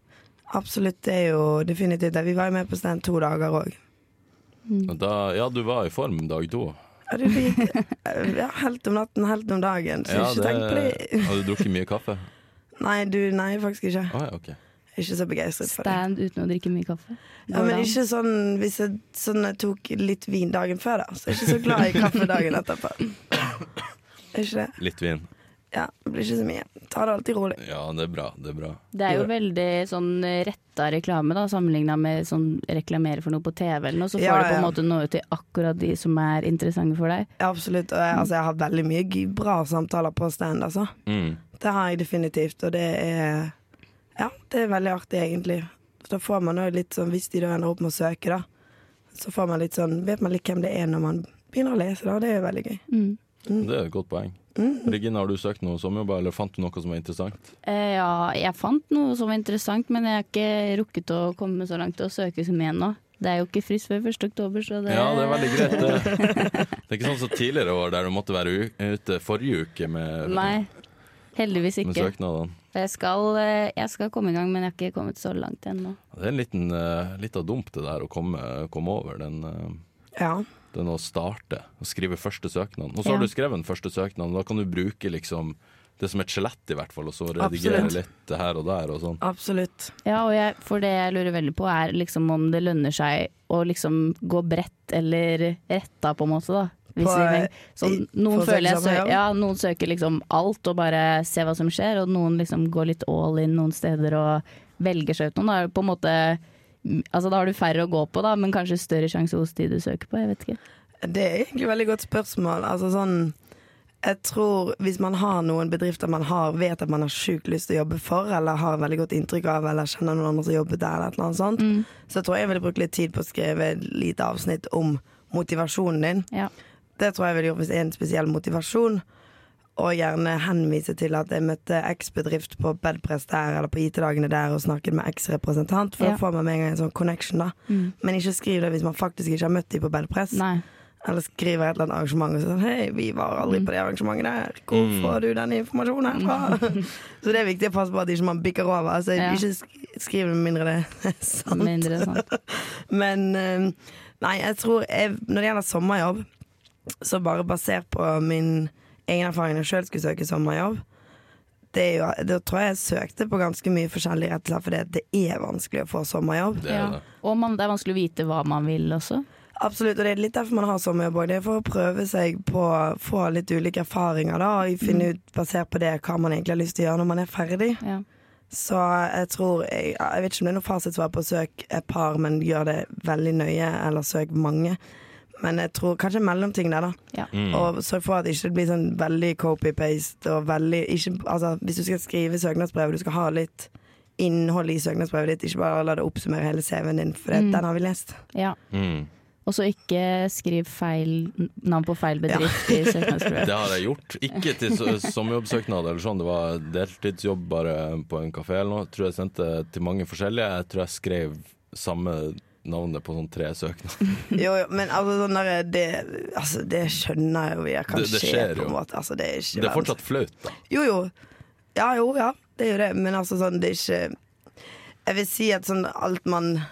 B: Absolutt, det er jo definitivt det. Vi var jo med på stand to dager òg.
A: Og Da, ja, du var i form dag to.
B: Ja, du fikk
A: <laughs>
B: ja, helt om natten, helt om dagen, så
A: Ja,
B: ikke tenk på det.
A: Har du drukket mye
B: <laughs>
A: kaffe?
B: Nei, du, nei, faktisk ikke.
A: Å ja, OK.
B: Jeg er Ikke så begeistret for det.
C: Stand uten å drikke mye kaffe.
B: Ja,
C: Går
B: men
C: det an?
B: ikke sånn hvis jeg, sånn jeg tok litt vin dagen før, da. Så jeg er ikke så glad i kaffe dagen etterpå. Er ikke det?
A: Litt vin.
B: Ja, det blir ikke så mye. Ta det alltid rolig.
A: Ja, det er bra. Det er bra.
C: Det er jo veldig sånn retta reklame, da, sammenligna med sånn reklamere for noe på TV eller noe. Så får
B: Ja,
C: det på en
B: ja.
C: måte nå ut til akkurat de som er interessante for deg.
B: Ja, absolutt. Og jeg, altså, jeg har veldig mye g- bra samtaler på stand, altså.
A: Mm.
B: Det har jeg definitivt, og det er Ja, det er veldig artig, egentlig. Da får man òg litt sånn, hvis de da ender opp med å søke, da, så får man litt sånn Vet man litt hvem det er når man begynner å lese, da. Det er veldig gøy.
C: Mm.
A: Det er et godt poeng.
B: Mm.
A: Regina, har du søkt noe sommerjobb, eller fant du noe som er interessant?
C: Eh, Ja, jeg fant noe som var interessant, men jeg har ikke rukket å komme så langt og søke som en nå. Det er jo ikke frist før 1. oktober, så det
A: Ja, det er veldig greit.
B: <laughs>
A: Det, det er ikke sånn som tidligere år, der du måtte være u- ute forrige uke med,
C: Nei, heldigvis
A: med
C: ikke.
A: søknadene.
C: Jeg skal, eh, jeg skal komme i gang, men jeg har ikke kommet så langt ennå.
A: Det er en liten, eh, liten dump det der å komme, komme over, den, eh,
B: Ja.
A: den å starte og skrive første søknaden. Og så
C: Ja.
A: har du skrevet den første søknaden, og da kan du bruke liksom det som et skjelett i hvert fall, og så redigere
B: Absolutt.
A: litt her og der og sånn.
B: Absolutt.
C: Ja, og jeg, for det jeg lurer veldig på er liksom om det lønner seg å liksom gå bredt eller retta, på en måte, da. Hvis
B: På,
C: vi-
B: eh,
C: sånn,
B: i-
C: noen
B: for å
C: føler jeg
B: søke sammen,
C: søker, ja, noen søker liksom alt og bare ser hva som skjer, og noen liksom går litt all in noen steder og velger seg ut noen. Da er det på en måte Altså da har du færre å gå på, da, men kanskje større sjanse hos de du søker på, jeg vet ikke.
B: Det er egentlig et veldig godt spørsmål. Altså sånn jeg tror Hvis man har noen bedrifter man har, vet at man har sjukt lyst til å jobbe for, eller har veldig godt inntrykk av, eller kjenner noen andre som jobber der, eller et eller annet sånt,
C: Mm.
B: så tror jeg jeg ville brukt litt tid på å skrive et lite avsnitt om motivasjonen din.
C: Ja.
B: Det tror jeg ville gjort hvis det er en spesiell motivasjon. Og gjerne henvise til at jeg møtte X-bedrift på Bedpress der, eller på IT-dagene der, og snakket med X-representant, for
C: Ja. Mm.
B: da får man med en gang en sånn connection, da. Men ikke skriv det hvis man faktisk ikke har møtt de på Bedpress.
C: Nei.
B: Eller skriver et eller annet arrangement og så sånn Hei, vi var aldri på det arrangementet der. Hvor får du den informasjonen herfra? så det er viktig å passe på at ikke man bikker over. Altså,
C: Ja.
B: Ikke sk- skriv med mindre det er <laughs> sant.
C: Mindre sånn. sant.
B: Men eh, nei, jeg tror jeg, Når det gjelder sommerjobb, så bare basert på min egen erfaring når jeg sjøl skulle søke sommerjobb, det er jo, da tror jeg jeg søkte på ganske mye forskjellig, rett og slett fordi det er vanskelig å få sommerjobb.
A: Det er
C: Ja.
A: det.
C: Og man, det er vanskelig å vite hva man vil også.
B: Absolutt, og det er litt derfor man har sommerjobb òg. Det er for å prøve seg på få litt ulike erfaringer, da, og
C: Mm.
B: finne ut basert på det hva man egentlig har lyst til å gjøre når man er ferdig.
C: Ja.
B: Så jeg tror Jeg, ja, jeg vet ikke om det er noe fasitsvar på å søke et par, men gjør det veldig nøye, eller søk mange. Men jeg tror kanskje en mellomting der, da.
C: Ja.
B: Og sørg for at det ikke blir sånn veldig copy-paste og veldig ikke, altså, Hvis du skal skrive søknadsbrev, du skal ha litt innhold i søknadsbrevet ditt, ikke bare la det oppsummere hele CV-en din, for det,
C: Mm.
B: den har vi lest.
C: ja.
A: Mm.
C: Og så ikke skriv feil navn på feil bedrift i
A: <laughs>
C: søknadsbrevet.
A: Det har jeg gjort. Ikke til så- sommerjobbsøknad eller sånn, det var deltidsjobb bare på en kafé eller noe. Jeg tror jeg sendte til mange forskjellige. Jeg tror jeg skrev samme navnet på sånn tre søknader.
B: Jo, jo, men altså, sånn der, det, altså, det skjønner jeg jo jeg kan
A: Det- det
B: skje,
A: skjer
B: på
A: jo.
B: en måte. Altså, det er ikke
A: Det er
B: verdens-
A: fortsatt flaut, da.
B: Jo, jo. Ja, jo, ja. Det er jo det. Men altså sånn, det er ikke Jeg vil si at sånn alt man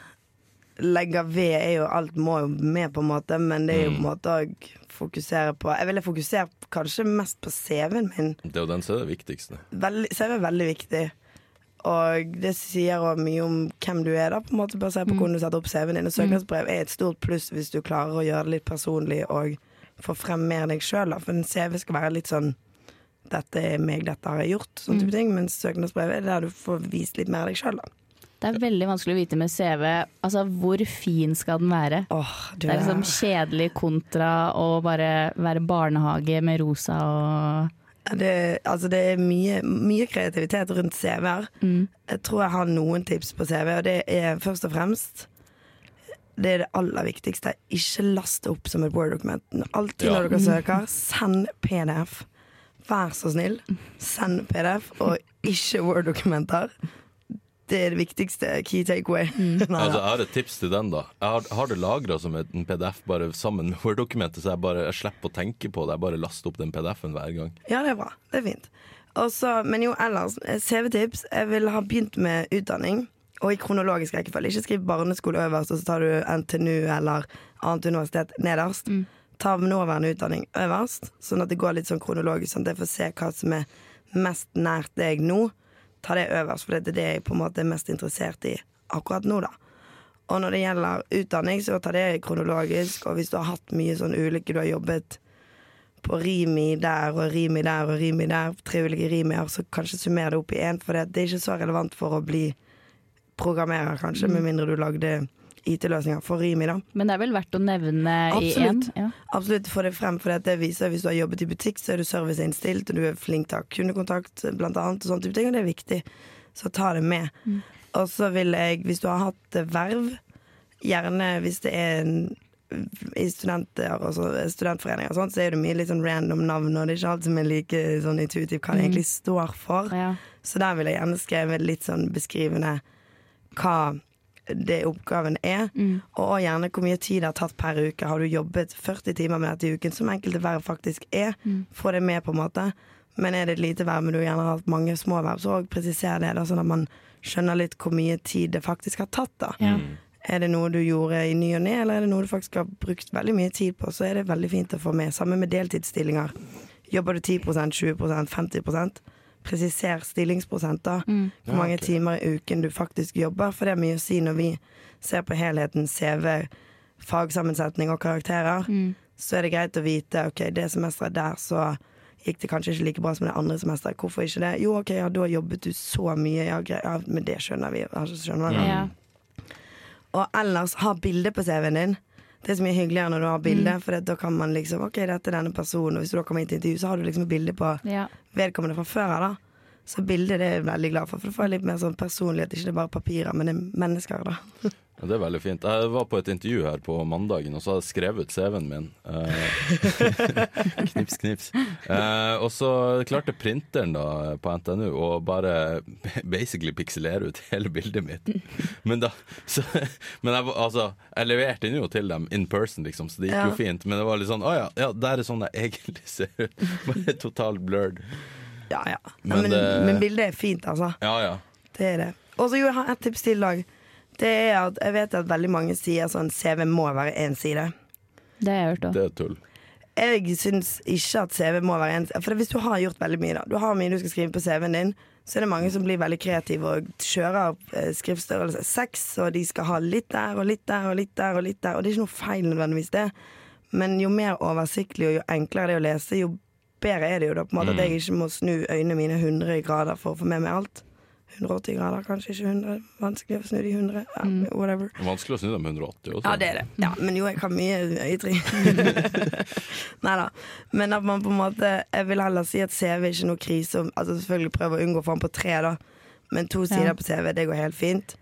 B: legger ved, er jo Alt må jo med, på en måte, men det er jo på en
A: Mm.
B: måte òg fokusere på Jeg ville fokusert kanskje mest på CV-en min.
A: Det er jo den som er det viktigste.
B: Veldig, CV er veldig viktig. Og det sier også mye om hvem du er, da, på en måte basert på hvordan du setter opp CV-en din. Og søknadsbrev er et stort pluss hvis du klarer å gjøre det litt personlig og få frem mer deg sjøl. For en CV skal være litt sånn 'dette er meg, dette har jeg gjort', sånn type ting. Mens søknadsbrev er der du får vist litt mer deg sjøl, da.
C: Det er veldig vanskelig å vite med CV altså hvor fin skal den være.
B: Åh, du
C: Det er
B: er
C: liksom kjedelig kontra å bare være barnehage med rosa og
B: Ja, det, altså det er mye, mye kreativitet rundt CV-er. Jeg tror jeg har noen tips på CV, og det er først og fremst Det er det aller viktigste. Ikke last det opp som et Word-dokument. Alltid
A: Ja.
B: når dere søker, send PDF. Vær så snill, send PDF, og ikke Word-dokumenter. Det er det viktigste key takeaway. <laughs> Nei,
A: Altså,
B: da.
A: jeg har et tips til den, da. Jeg har, har det lagra som et- en PDF bare sammen med Word-dokumentet, så jeg, bare, jeg slipper å tenke på det. Jeg bare laster opp den PDF-en hver gang.
B: Ja, det er bra. Det er fint. Og så- men jo, ellers, eh, CV-tips. Jeg ville ha begynt med utdanning. Og i kronologisk rekkefølge. Ikke skriv barneskole øverst, og så tar du NTNU eller annet universitet nederst. Ta nåværende utdanning øverst, sånn at det går litt sånn kronologisk, sånn at jeg får se hva som er mest nært deg nå. Ta det øverst, for det er det jeg på en måte er mest interessert i akkurat nå, da. Og når det gjelder utdanning, så ta det kronologisk, og hvis du har hatt mye sånn ulykke, du har jobbet på Rimi der og Rimi der og Rimi der, tre ulike Rimier, så kanskje summer det opp i én, for det, det er ikke så relevant for å bli programmerer, kanskje, med mindre du lagde IT-løsninger for Rimi, da.
C: Men det er vel verdt å nevne
B: Absolutt.
C: i én? Ja.
B: Absolutt, få det frem, for det viser hvis du har jobbet i butikk, så er du serviceinnstilt, og du er flink til å ha kundekontakt, blant annet, og sånne type ting, og det er viktig. Så ta det med. Og så vil jeg, hvis du har hatt eh, verv, gjerne hvis det er en i studenter og så, studentforeninger og sånt, så er det mye litt sånn random navn, og det er ikke alt som er like sånn intuitivt hva det egentlig står for.
C: Ja.
B: Så der vil jeg gjerne skrevet litt sånn beskrivende hva det oppgaven er, og også gjerne hvor mye tid det har tatt per uke. Har du jobbet 40 timer med dette i uken, som enkelte verv faktisk er, få det med på en måte. Men er det et lite verv, men du gjerne har hatt mange små verv, så også presiser det, da, sånn at man skjønner litt hvor mye tid det faktisk har tatt. da.
C: Ja.
B: Er det noe du gjorde i ny og ne, eller er det noe du faktisk har brukt veldig mye tid på, så er det veldig fint å få med. Sammen med deltidsstillinger. Jobber du 10 20 50 Presiser stillingsprosenter. Hvor mange timer i uken du faktisk jobber. For det er mye å si når vi ser på helheten CV, fagsammensetning og karakterer. Så er det greit å vite ok, det semesteret der, så gikk det kanskje ikke like bra som det andre semesteret. Hvorfor ikke det? Jo, ok, ja, da jobbet du så mye. Ja, greit. Ja, men det skjønner vi. Ja, skjønner
A: Mm.
B: vi.
C: Ja.
B: Og ellers ha bilde på CV-en din. Det er så mye hyggeligere når du har bilde, for da kan man liksom OK, dette er denne personen, og hvis du da kommer inn til intervju, så har du liksom et bilde på
C: Ja.
B: vedkommende fra før av, da. Så bildet det er jeg veldig glad for, for du får litt mer sånn personlighet. Ikke det er bare papirer, men det er mennesker, da.
A: Ja, det er veldig fint. Jeg var på et intervju her på mandagen, og så hadde jeg skrevet CV-en min. Eh, <laughs> knips, knips. Eh, og så klarte printeren da på NTNU å bare basically pikselere ut hele bildet mitt. Men da så, Men jeg, var- altså, jeg leverte den jo til dem in person, liksom, så det gikk
B: Ja.
A: jo fint. Men det var litt sånn Å ja, ja, der er sånn jeg egentlig ser ut. <laughs> Bare totalt blurred.
B: Ja, ja.
A: Men
B: Men, men,
A: det-
B: bildet er fint, altså.
A: Ja ja.
B: Det er det. Og så jo, jeg har et tips til i dag. Det er at jeg vet at veldig mange sier sånn CV må være én side.
C: Det har jeg hørt òg.
A: Det er tull.
B: Jeg syns ikke at CV må være en For hvis du har gjort veldig mye, da. Du har mye du skal skrive på CV-en din, så er det mange som blir veldig kreative og kjører eh, skriftstørrelse seks, og de skal ha litt der og litt der og litt der og litt der, og det er ikke noe feil nødvendigvis det. Men jo mer oversiktlig og jo enklere det er å lese, jo bedre er det jo da på en måte at jeg ikke må snu øynene mine 100 grader for å få med meg alt. 180 grader, kanskje ikke 100. Vanskelig å snu de 100. Ja, whatever.
A: Det er vanskelig å snu dem 180 også.
B: Ja, det er det. Ja, men jo, jeg kan mye i <laughs> tre. Nei da. Men at man på en måte Jeg vil heller si at CV er ikke noe krise. om- Altså Selvfølgelig prøve å unngå faen på tre, da. Men to sider på CV, det går helt fint.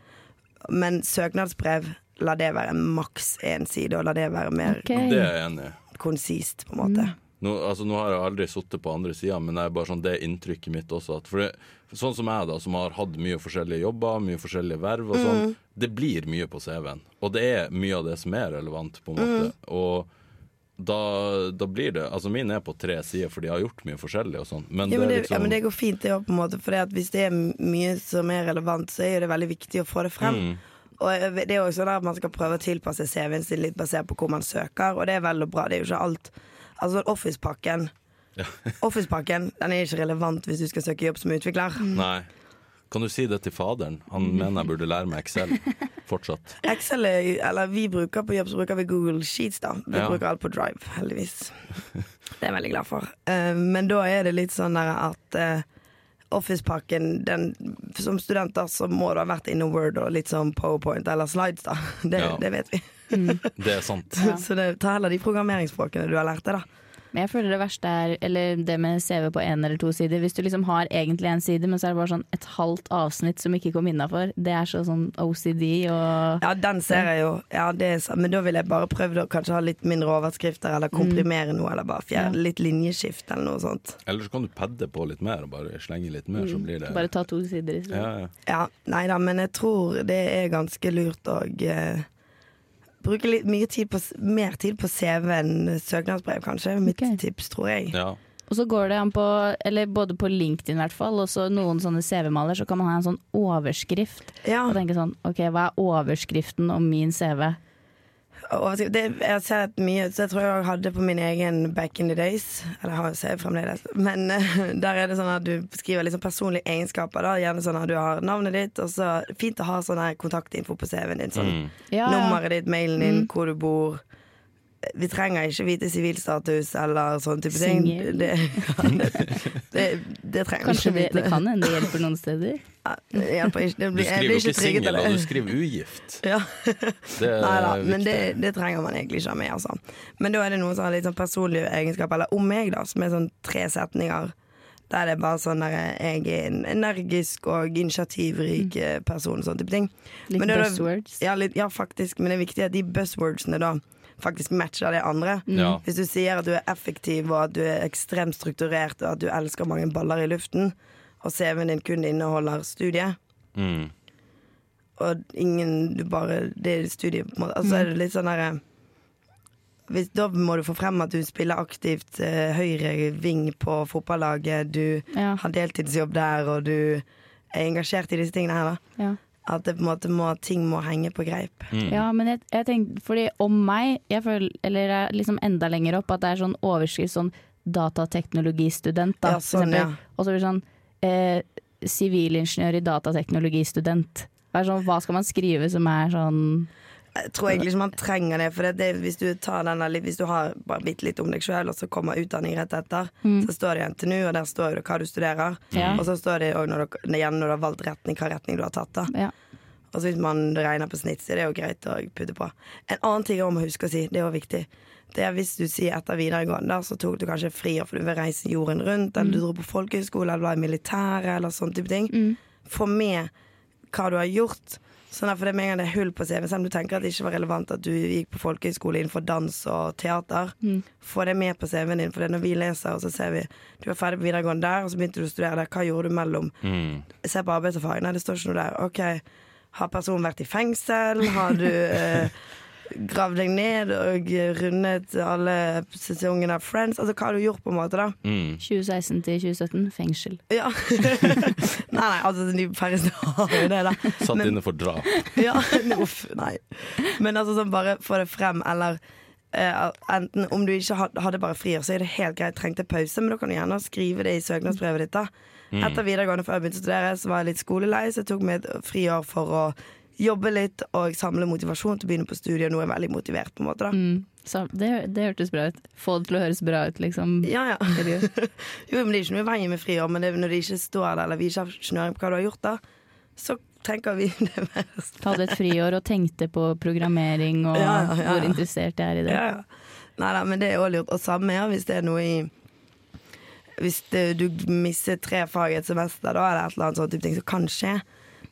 B: Men søknadsbrev, la det være maks én side, og la det være mer
C: Ok.
A: Det er jeg enig i.
B: konsist, på en måte.
A: Nå, altså, nå har jeg aldri sittet på andre sida, men det er bare sånn det er inntrykket mitt også. At for det, sånn som jeg, da, som har hatt mye forskjellige jobber, mye forskjellige verv og sånn,
B: Mm.
A: det blir mye på CV-en. Og det er mye av det som er relevant, på en måte.
B: Mm.
A: Og da, da blir det Altså, min er på tre sider, for de har gjort mye forskjellig og sånn, men,
B: Ja, men
A: det
B: det,
A: er liksom
B: ja, men det går fint, det òg, på en måte. For hvis det er mye som er relevant, så er jo det veldig viktig å få det frem.
A: Mm.
B: Og jeg vet- det er jo sånn at Man skal prøve å tilpasse CV-en sin litt basert på hvor man søker, og det er vel og bra. Det er jo ikke alt. Altså Office-pakken Office-pakken den er ikke relevant hvis du skal søke jobb som utvikler.
A: Nei. Kan du si det til faderen? Han
B: Mm.
A: mener jeg burde lære meg
B: <laughs>
A: Excel fortsatt.
B: Excel, er- eller Vi bruker på jobb så bruker vi Google Sheets. da Vi
A: Ja.
B: bruker alt på Drive,
A: <laughs>
B: heldigvis. Det er jeg veldig glad for. Eh, men da er det litt sånn der at eh, Office-pakken den, Som studenter så må du ha vært innom Word og litt sånn PowerPoint eller slides, da. <laughs> Det,
A: Ja.
B: det vet vi.
A: Det er sant.
B: <laughs>
C: Ja.
B: Så det, ta heller de programmeringsspråkene du har lært deg, da.
C: Men jeg føler det verste er eller det med CV på én eller to sider. Hvis du liksom har egentlig én side, men så er det bare sånn et halvt avsnitt som ikke kom innafor. Det er så sånn OCD og
B: Ja, den ser jeg jo. Ja, det er, sant. men da ville jeg bare prøvd å kanskje ha litt mindre overskrifter, eller komprimere noe, eller bare fjerne litt linjeskift, eller noe sånt.
A: Eller så kan du padde på litt mer og bare slenge litt mer,
B: Mm.
A: så blir det
C: Bare ta to sider i stedet.
A: ja, ja.
B: Ja, nei da, men jeg tror det er ganske lurt å eh, bruke litt mye tid på, s- mer tid på CV enn søknadsbrev, kanskje. Mitt
C: Ok.
B: tips, tror jeg.
A: ja.
C: Og så går det an på, eller både på LinkedIn i hvert fall, og så noen sånne CV-maler, så kan man ha en sånn overskrift.
B: Ja,
C: Og tenke sånn, ok, hva er overskriften om min CV?
B: og altså, det, jeg har sett mye, så jeg tror jeg hadde på min egen back in the days. Eller har jeg fremdeles. Men eh, der er det sånn at du skriver liksom personlige egenskaper. da Gjerne sånn at du har navnet ditt, og så fint å ha sånn her kontaktinfo på CV-en din. Sånn
C: Ja, ja. Mm.
B: Nummeret ditt, mailen din, hvor du bor. Vi trenger ikke vite sivilstatus eller sånne type ting.
C: Singel.
B: Det, <laughs> ja, det, det, det trenger vi
C: Kanskje
B: ikke
C: det,
B: vite.
C: det kan hende det hjelper noen steder.
B: Ja, det hjelper ikke. Det
A: Du
B: blir, jeg
A: skriver
B: blir
A: jo
B: ikke
A: ikke
B: trygget
A: singel, og
B: av <laughs>
A: du
B: det.
A: skriver ugift.
B: Ja.
A: Det er
B: Nei da,
A: viktig.
B: men det, det trenger man egentlig ikke ha med, altså. Men da er det noen sånne litt sånn personlige egenskaper, eller om meg, da, som er sånn tre setninger. Der det er bare sånn der jeg er en energisk og initiativrik
C: Mm.
B: eh, person, sånn type ting. <laughs>
C: Litt
B: Men det er da-
C: buzzwords.
B: Ja, litt, ja, faktisk, men det er viktig at de buzzwordsene da faktisk matcher det andre.
A: ja.
B: Hvis du sier at du er effektiv, og at du er ekstremt strukturert, og at du elsker mange baller i luften, og CV-en din kun inneholder studie,
A: Mm.
B: og ingen du bare Det er studie, på en måte. Altså er det litt sånn derre hvis, da må du få frem at du spiller aktivt eh, høyre ving på fotballaget, du
C: Ja,
B: har deltidsjobb der, og du er engasjert i disse tingene her, da.
C: ja.
B: At det på en måte må, ting må henge på greip.
C: Ja, men jeg, jeg tenkte, fordi om meg, jeg føler, eller jeg er liksom enda lenger opp, at det er sånn overskrift sånn datateknologistudent, da,
B: Ja, sånn,
C: for
B: ja.
C: eksempel. Og så blir det sånn eh, sivilingeniør i datateknologistudent. Det er sånn, hva skal man skrive som er sånn
B: Jeg tror egentlig ikke man trenger det. For det, det, hvis, du tar denne, litt- hvis du har bare bitte litt om deg sjøl, og så kommer utdanning rett etter, så står det jo NTNU, og der står jo det hva du studerer.
C: Ja.
B: Og så står det òg når, dere- igjen når du har valgt retning, hva retning du har tatt. da
C: Ja.
B: Og så Altså, hvis man regner på snitt, så er det jo greit å putte på. En annen ting jeg også må huske å si, det er også viktig, det er hvis du sier etter videregående, da, så tok du kanskje friår for du vil reise jorden rundt, eller du dro på folkehøyskole, eller du var i militæret, eller sånne type ting. Få med hva du har gjort. Sånn at for det er med en gang det er hull på CV, selv om du tenker at det ikke var relevant at du gikk på folkehøyskole innenfor dans og teater, få det med på CV-en din. For det er når vi leser, og så ser vi du var ferdig på videregående der, og så begynte du å studere der, hva gjorde du mellom?
A: mm.
B: Se på arbeidserfaring. Nei, det står ikke noe der. Ok, har personen vært i fengsel? Har du eh, gravd deg ned og rundet alle sesongene av Friends? Altså hva har du gjort, på en måte, da?
C: 2016 til 2017, fengsel.
B: Ja. <laughs> nei, nei, altså de færreste har jo det, da.
A: Satt
B: Men-
A: inne for drap.
B: <laughs> Ja, nei, uff, nei. Men altså sånn, bare få det frem, eller eh, enten om du ikke had- hadde bare friår, så er det helt greit, trengte pause, men da kan du gjerne skrive det i søknadsbrevet ditt, da. Etter videregående, før jeg begynte å studere, så var jeg litt skolelei, så jeg tok meg et friår for å jobbe litt og samle motivasjon til å begynne på studiet, og nå er jeg veldig motivert, på en måte, da.
C: Mm. Så det, det hørtes bra ut. Få det til å høres bra ut, liksom.
B: Ja, ja. <laughs> jo, men det er ikke noe i veien med friår, men det er når det ikke står der, eller vi ikke har snøring på hva du har gjort, da. så tenker vi det verst.
C: Ta det et friår og tenkte på programmering og
B: Ja, ja, ja.
C: hvor interessert jeg er i det.
B: Ja, ja. Nei da, men det er òg lurt. Og samme ja, hvis det er noe i Hvis det, du misser tre fag i et semester, da, eller et eller annet sånt type ting som kan skje,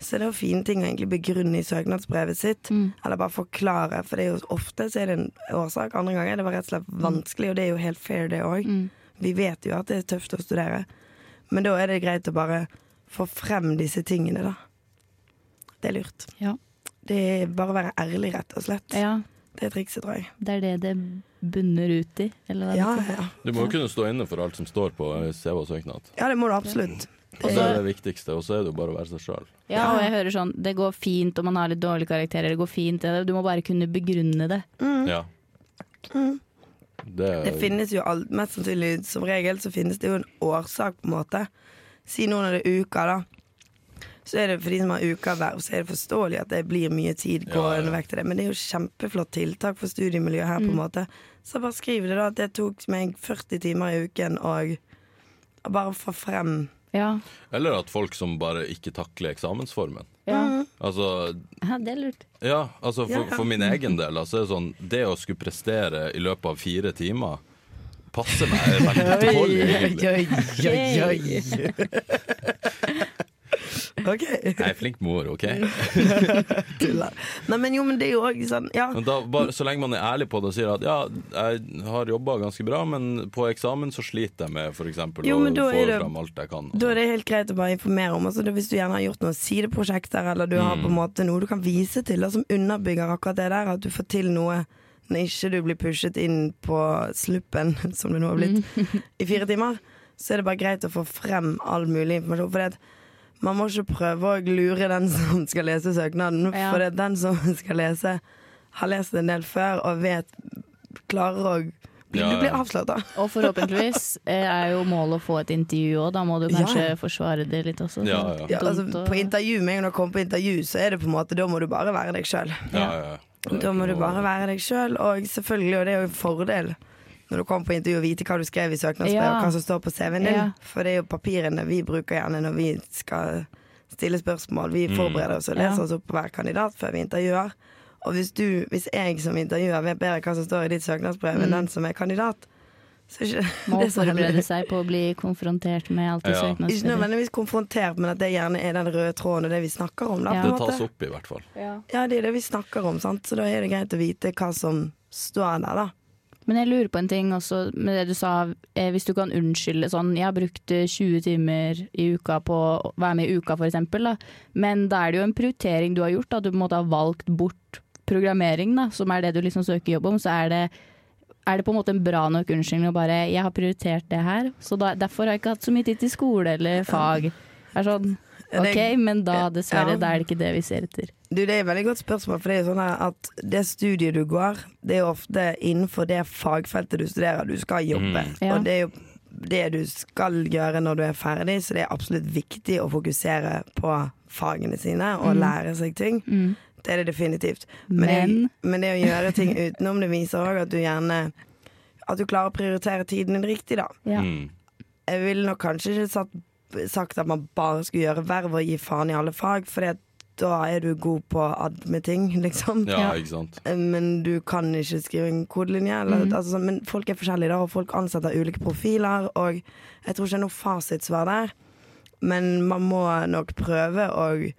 B: så er det jo fine ting å egentlig begrunne i søknadsbrevet sitt.
C: Mm.
B: Eller bare forklare, for det er jo ofte så er det en årsak. Andre ganger er det bare rett og slett vanskelig, og det er jo helt fair, det òg.
C: Mm.
B: Vi vet jo at det er tøft å studere, men da er det greit å bare få frem disse tingene, da. Det er lurt.
C: Ja.
B: Det er bare å være ærlig, rett og slett.
C: ja,
B: Det er trikset, tror jeg.
C: det er det det bunner ut i. Eller hva det
B: Ja,
C: heter.
B: ja.
A: Du må jo kunne stå inne for alt som står på CV-søknad.
B: Ja, det må du
A: Mm.
B: absolutt.
A: Det er det viktigste, og så er det jo bare å være seg sjøl.
C: Ja, og jeg hører sånn Det går fint om man har litt dårlige karakterer. Det går fint, det- Du må bare kunne begrunne det.
A: Ja. Det,
B: Mm. Det finnes jo alt, mest sannsynlig som regel så finnes det jo en årsak, på en måte. Si nå når det er uker, da. Så er det for de som har ukeverv, så er det forståelig at det blir mye tid gående
A: ja.
B: vekk til det. Men det er jo kjempeflott tiltak for studiemiljøet her, på en måte. Så bare skriv det, da, at det tok meg 40 timer i uken, og, og bare få frem
C: Ja.
A: Eller at folk som bare ikke takler eksamensformen.
C: Ja,
A: Altså,
C: ja det er lurt.
A: ja, altså
B: Ja,
A: for,
B: ja.
A: for min egen del, altså, er det sånn Det å skulle prestere i løpet av fire timer passer meg
B: <laughs>
A: veldig dårlig, egentlig.
B: OK,
A: Jeg er flink mor, OK?
B: <laughs> tuller. Nei, men jo, men det er jo òg sånn, ja.
A: Men da, bare, så lenge man er ærlig på det og sier at ja, jeg har jobba ganske bra, men på eksamen så sliter jeg med f.eks.
B: Jo,
A: å
B: men da
A: få
B: er det-
A: fram alt jeg kan.
B: Da er det helt greit å bare informere om. Altså, det- hvis du gjerne har gjort noen sideprosjekter, eller du har
A: Mm.
B: på en måte noe du kan vise til da, som underbygger akkurat det der, at du får til noe når ikke du blir pushet inn på sluppen, <laughs> som det nå har blitt,
A: Mm.
B: i fire timer, så er det bare greit å få frem all mulig informasjon. For det at man må ikke prøve å lure den <laughs> som skal lese søknaden,
C: Ja.
B: for det at den som <laughs> skal lese, har lest en del før og vet Klarer å bli,
A: Ja,
B: Du blir
A: ja.
B: avslørt, da.
C: Og forhåpentligvis eh, er jo målet å få et intervju òg. Da må du kanskje forsvare det litt også. sånn
A: Ja, ja.
B: Ja, altså,
C: Dumt å-
B: på intervju, med en gang du kommer på intervju, så er det på en måte Da må du bare være deg sjøl.
A: Ja, ja, ja.
B: Da må du bare være deg sjøl, og selvfølgelig, og det er jo en fordel når du kommer på intervju, å vite hva du skrev i søknadsbrevet,
C: Ja.
B: og hva som står på CV-en din.
C: Ja.
B: For det er jo papirene vi bruker gjerne når vi skal stille spørsmål. Vi forbereder oss og
C: Mm. Ja.
B: leser oss opp på hver kandidat før vi intervjuer. Og hvis, du, hvis jeg som intervjuer vet bedre hva som står i ditt søknadsbrev
C: Mm.
B: enn den som er kandidat, så er ikke
C: Må
B: det så heldig.
C: forberede seg på å bli konfrontert med alt i
A: Ja.
B: Ikke
C: søknadsskrivet.
B: nødvendigvis konfrontert, men at det gjerne er den røde tråden og det vi snakker om. Da, på
C: Ja.
A: Det
B: en måte.
A: tas opp, i hvert fall.
C: Ja.
B: Ja, det er det vi snakker om, sant? så da er det greit å vite hva som står der, da.
C: Men jeg lurer på en ting også med det du sa, eh, hvis du kan unnskylde sånn Jeg har brukt eh, 20 timer i uka på å være med i uka for eksempel, da. men da er det jo en prioritering du har gjort, da. Du på en måte har valgt bort programmering, da, som er det du liksom søker jobb om. Så er det, er det på en måte en bra nok unnskyldning å bare Jeg har prioritert det her, så da, derfor har jeg ikke hatt så mye tid til skole eller fag. Det er sånn
B: Ja, det-
C: OK, men da dessverre,
B: Ja.
C: da er det ikke det vi ser etter.
B: Du, Det er et veldig godt spørsmål, for det er jo sånn her at det studiet du går, det er jo ofte innenfor det fagfeltet du studerer. Du skal jobbe,
C: Mm. Ja.
B: og det er jo det du skal gjøre når du er ferdig, så det er absolutt viktig å fokusere på fagene sine
C: Mm.
B: og lære seg ting. Det er det definitivt. Men,
C: Men-
B: Det, men det å gjøre ting utenom, det viser òg at du gjerne At du klarer å prioritere tiden din riktig, da.
C: Ja.
A: Mm.
B: jeg ville nok kanskje ikke satt, sagt at man bare skulle gjøre verv og gi faen i alle fag, for da er du god på admin-ting, <laughs> liksom.
A: Ja,
C: Ja.
A: ikke sant.
B: Men du kan ikke skrive en kodelinje. Eller, altså, sånn, men folk er forskjellige, da, og folk ansetter ulike profiler. Og jeg tror ikke det er noe fasitsvar der, men man må nok prøve å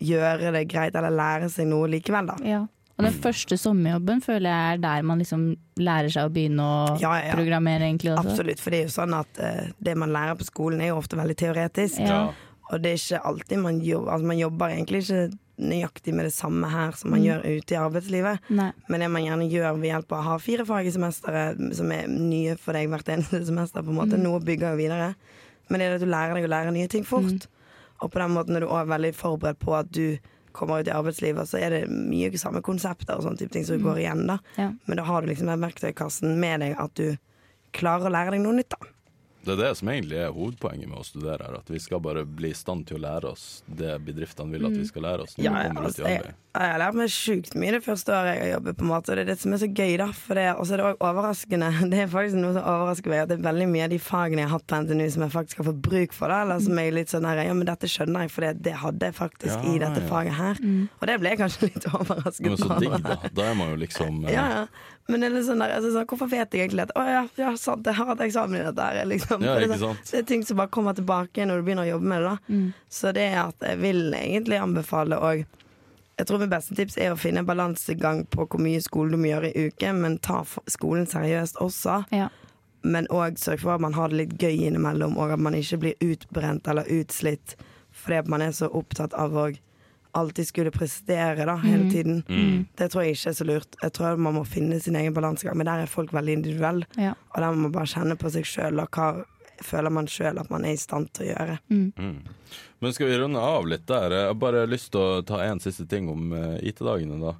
B: gjøre det greit, eller lære seg noe likevel, da.
C: Ja. Og den første sommerjobben føler jeg er der man liksom lærer seg å begynne å
B: Ja, ja, ja.
C: programmere, egentlig. Også.
B: Absolutt, for det er jo sånn at eh, det man lærer på skolen er jo ofte veldig teoretisk.
C: Ja.
A: Ja.
B: Og det er ikke alltid man jobber Altså man jobber egentlig ikke nøyaktig med det samme her som man gjør ute i arbeidslivet.
C: Nei.
B: Men det man gjerne gjør ved hjelp av å ha fire fag i semesteret som er nye for deg hvert eneste semester, på en måte, noe bygger jo videre. Men det er det at du lærer deg å lære nye ting fort. Og på den måten er du òg veldig forberedt på at du kommer ut i arbeidslivet, så er det mye samme konsepter og sånne type ting som går igjen, da.
C: Ja.
B: Men da har du liksom den verktøykassen med deg at du klarer å lære deg noe nytt, da.
A: Det er det som egentlig er hovedpoenget med å studere her. At vi skal bare bli i stand til å lære oss det bedriftene vil at vi skal lære oss. Når
B: Mm. Ja,
A: vi
B: jeg,
A: kommer ut
B: altså,
A: i
B: jeg,
A: arbeid.
B: jeg har lært meg sjukt mye det første året jeg har jobbet. på en måte Og det er det som er så gøy, da. For det, og så er det òg overraskende. <laughs> Det er faktisk noe som overrasker meg, at det er veldig mye av de fagene jeg har hatt på NTNU som jeg faktisk har fått bruk for. da Eller som jeg er litt sånn her, ja, men dette skjønner jeg, for det, det hadde jeg faktisk
A: Ja,
B: i dette
A: ja.
B: faget her. Og det ble jeg kanskje <laughs> litt overrasket
A: Men så
B: over.
A: digg, da. Da er man jo liksom eh,
B: Ja, ja. Men det er litt sånn der, altså, sånn, hvorfor vet jeg egentlig dette? Å ja, ja, sant, jeg har hatt eksamen i dette her. Liksom.
A: Ja,
B: For det,
A: ikke
B: er sånn-
A: sant?
B: det er ting som bare kommer tilbake når du begynner å jobbe med det. Da. Så det er at jeg vil egentlig anbefale òg Jeg tror mitt beste tips er å finne en balansegang på hvor mye skole du må gjøre i uken, men ta f- skolen seriøst også.
C: Ja.
B: Men òg sørg for at man har det litt gøy innimellom, og at man ikke blir utbrent eller utslitt fordi at man er så opptatt av å alltid skulle prestere da, hele
A: Mm.
B: tiden. Det tror jeg ikke er så lurt. Jeg tror man må finne sin egen balansegang, men der er folk veldig individuelle.
C: Ja.
B: Og der må man bare kjenne på seg sjøl, og hva føler man sjøl at man er i stand til å gjøre.
A: Men skal vi runde av litt der? Jeg har bare lyst til å ta en siste ting om eh, IT-dagene, da.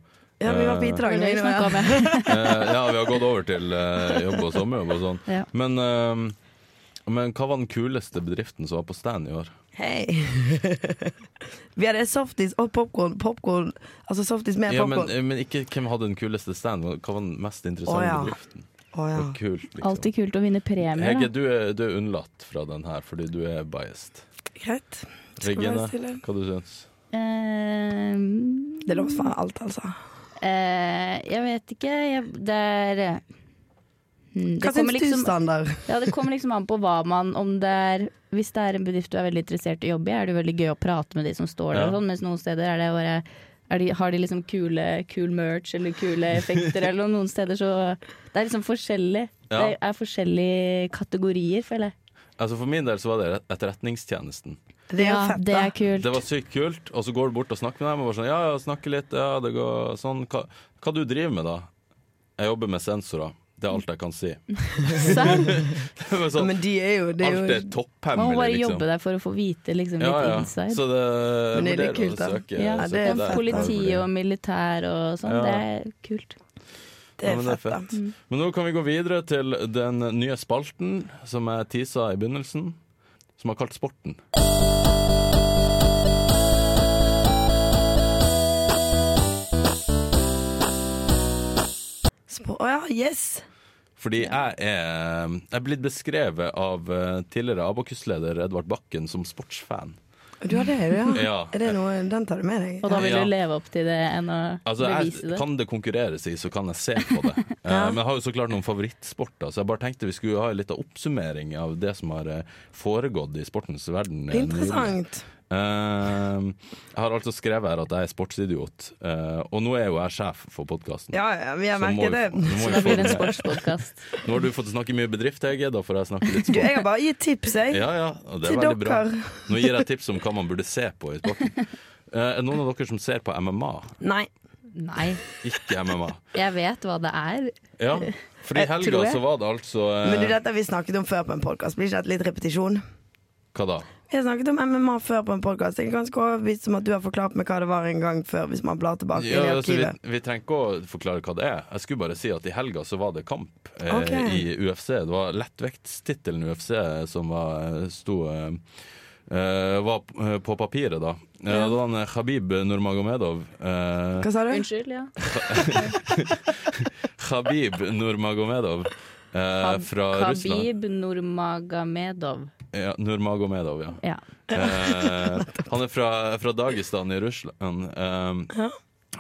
B: Ja, vi var på
C: Det var
B: IT-dagen.
C: det vi
B: vi var-
C: snakket om. ja.
A: Eh, ja, vi har gått over til eh, jobb og sommerjobb og
B: <laughs>
A: sånn.
C: Ja.
A: Men, eh, men hva var den kuleste bedriften som var på stand i år?
B: Hei. <laughs> vi hadde softis og popkorn. Popcorn. Altså softis med
A: Ja, men, eh,
B: popkorn. Å
A: men ikke hvem hadde den kuleste stand, hva var den mest interessante
B: Å, ja.
A: bedriften?
B: ja.
A: Og kult, liksom.
C: Alltid kult å vinne premier.
A: Hege,
C: da.
A: du er, du er unnlatt fra den her fordi du er biased.
B: Greit. Skal vi
A: Regine,
B: stille?
A: hva du syns
C: Eh,
B: Det er lov å svare alt, altså.
C: eh, jeg vet ikke. Jeg, det er eh, hmm,
B: Hva
C: det kommer
B: syns du,
C: liksom-
B: standard?
C: Ja, det kommer liksom an på hva man Om det er Hvis det er en bedrift du er veldig interessert i å jobbe i, er det jo veldig gøy å prate med de som står der og
A: Ja.
C: sånn, mens noen steder er det bare er de, har de liksom kule kul merch eller kule effekter eller noe, noen steder så Det er liksom forskjellig.
A: Ja.
C: Det er forskjellige kategorier, føler jeg.
A: Altså For min del så var det rett- Etterretningstjenesten.
B: Det er jo
C: ja,
B: fett,
C: det
B: da.
C: er kult. <laughs>
A: Det var sykt kult, og så går du bort og snakker med dem og bare sånn Ja, ja, snakker litt, ja, det går sånn. Hva, hva du driver med, da? Jeg jobber med sensorer. Det er alt jeg kan si. <laughs>
C: Serr?
A: Det var sånn,
B: Men de er jo, det er jo
A: alt er
C: Man må
A: topphemmelig,
C: bare
A: liksom.
C: jobbe der for å få vite liksom, litt
A: Ja, ja.
C: inside.
A: Så det
B: Men det er litt
A: vurderer å
B: kult, da.
A: søke.
C: ja,
A: søke
B: det er
A: der.
B: fett,
C: sånn
B: altså.
C: politi og militær og sånn,
A: Ja.
C: det er kult.
B: Det
A: Ja,
B: er
A: men det er
B: fett, da.
A: fett.
C: Mm.
A: Men nå kan vi gå videre til den nye spalten som jeg tisa i begynnelsen, som er kalt Sporten.
B: Sp- Å ja, yes!
A: Fordi jeg er, jeg er blitt beskrevet av eh, tidligere Abakus-leder Edvard Bakken som sportsfan.
B: Du har det, du, ja.
A: Ja.
B: Er det noe, den tar du med deg?
C: Og da vil
A: Ja.
C: du leve opp til det enn å
A: Altså,
C: bevise
A: jeg,
C: det.
A: kan det konkurreres i, så kan jeg se på
C: <laughs>
A: det. Eh, Men jeg har jo så klart noen favorittsporter, så jeg bare tenkte vi skulle ha litt av oppsummering av det som har eh, foregått i sportens verden. eh, nylig.
B: Interessant.
A: Eh, jeg har altså skrevet her at jeg er sportsidiot, eh, og nå er jo jeg sjef for podkasten.
B: Ja, ja, vi har
A: Så må
B: merket
A: vi-
B: det.
A: nå må
C: Så
A: vi
C: da
A: få
C: blir det
A: det
C: en
A: med.
C: sportspodkast.
A: Nå har du fått snakke mye bedrift, Hege. Da får jeg snakke
C: <laughs>
A: litt
B: Du,
A: sport.
B: jeg har bare gitt tips, jeg.
A: Ja, ja, og det er
B: Til
A: veldig bra.
B: dere.
A: Nå gir jeg tips om hva man burde se på i sporten. Eh, Er det noen av dere som ser på MMA?
B: Nei.
C: Nei,
A: Ikke MMA.
C: jeg vet hva det er.
A: Ja, for i
B: Jeg tror
A: helga
B: jeg.
A: så var det altså eh,
B: Men du, dette har vi snakket om før på en podkast. Blir ikke dette litt repetisjon?
A: Hva da?
B: Vi har snakket om MMA før på en podkast. Jeg er ganske overbevist om at du har forklart meg hva det var en gang før, hvis man blar tilbake
A: Ja,
B: i
A: altså, vi,
B: arkivet.
A: vi trenger ikke å forklare hva det er. Jeg skulle bare si at i helga så var det kamp eh,
B: Ok.
A: i UFC. Det var lettvektstittelen UFC som var, eh, sto eh, eh, var p- eh, på papiret, da. Eh,
B: Ja.
A: Det var en Khabib Nurmagomedov. eh,
B: <laughs> Hva sa du?
C: Unnskyld, ja.
A: Khabib Nurmagomedov eh, fra Russland.
C: Khabib Nurmagomedov.
A: Ja, Nurmagomedov, ja.
C: Ja.
B: <laughs>
A: Eh, han er fra, fra Dagestan i Russland. Eh,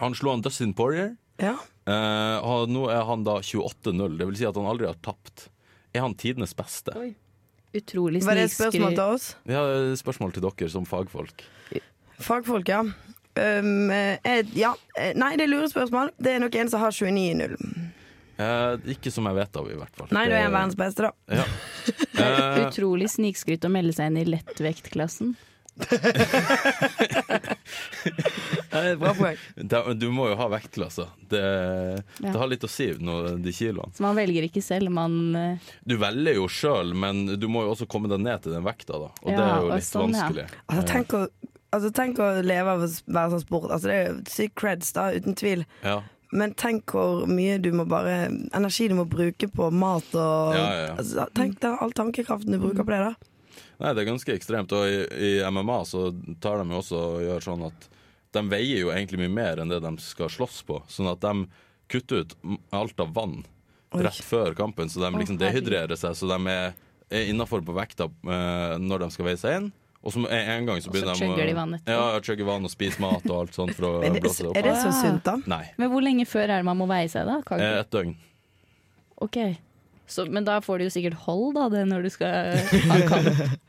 A: han slo han Dustin Poirier.
B: Ja.
A: Eh, og nå er han da 28-0, det vil si at han aldri har tapt. Er han tidenes beste?
C: Oi. Utrolig
B: Var det et spørsmål
C: snikskryt.
B: til oss?
A: Vi har et spørsmål til dere som fagfolk.
B: Fagfolk, ja. Um, eh, ja. Eh, Nei, det er lure spørsmål. Det er nok en som har 29 i null.
A: Eh, ikke som jeg vet av, i hvert fall.
B: Nei, du er
A: Det-
B: en verdens beste, da.
A: ja. Eh,
C: Utrolig snikskryt å melde seg inn i lettvektklassen.
B: Eh, Bra poeng.
A: da- du må jo ha vektklasser. Det,
C: Ja.
A: det har litt å si, nå, de kiloene.
C: Så man velger ikke selv, man eh,
A: Du velger jo sjøl, men du må jo også komme deg ned til den vekta, da. Og det
C: Ja,
A: er jo
C: og
A: litt
C: sånn, ja.
A: vanskelig.
B: <laughs> Altså, tenk å, altså, tenk å leve av å s- være sånn sport. Altså, det er jo sykt creds, da, uten tvil.
A: Ja.
B: Men tenk hvor mye du må bare energi du må bruke på mat og
A: Ja, ja, ja.
B: Altså, Tenk deg all tankekraften du bruker på det, da.
A: Nei, det er ganske ekstremt. Og i, i MMA så tar de jo også og gjør sånn at de veier jo egentlig mye mer enn det de skal slåss på. Sånn at de kutter ut m- alt av vann
B: Oi.
A: rett før kampen, så de liksom
C: herregud.
A: dehydrerer seg. Så de er, er innafor på vekta eh, når de skal veie seg inn. Og så en en gang så
C: Og så
A: begynner de
C: chugger de
A: å-
C: vann etterpå.
A: Ja, chugger vann og spiser mat og alt sånt
C: <laughs>
A: for å
B: Er det,
A: blåse det opp.
B: er det så
C: Ja.
B: sunt, da?
A: Nei.
C: Men hvor lenge før er det man må veie seg da? Kan
A: eh,
C: ikke-
A: Et døgn.
C: Ok. Så, men da får du jo sikkert hold da, det når du skal ha kamp.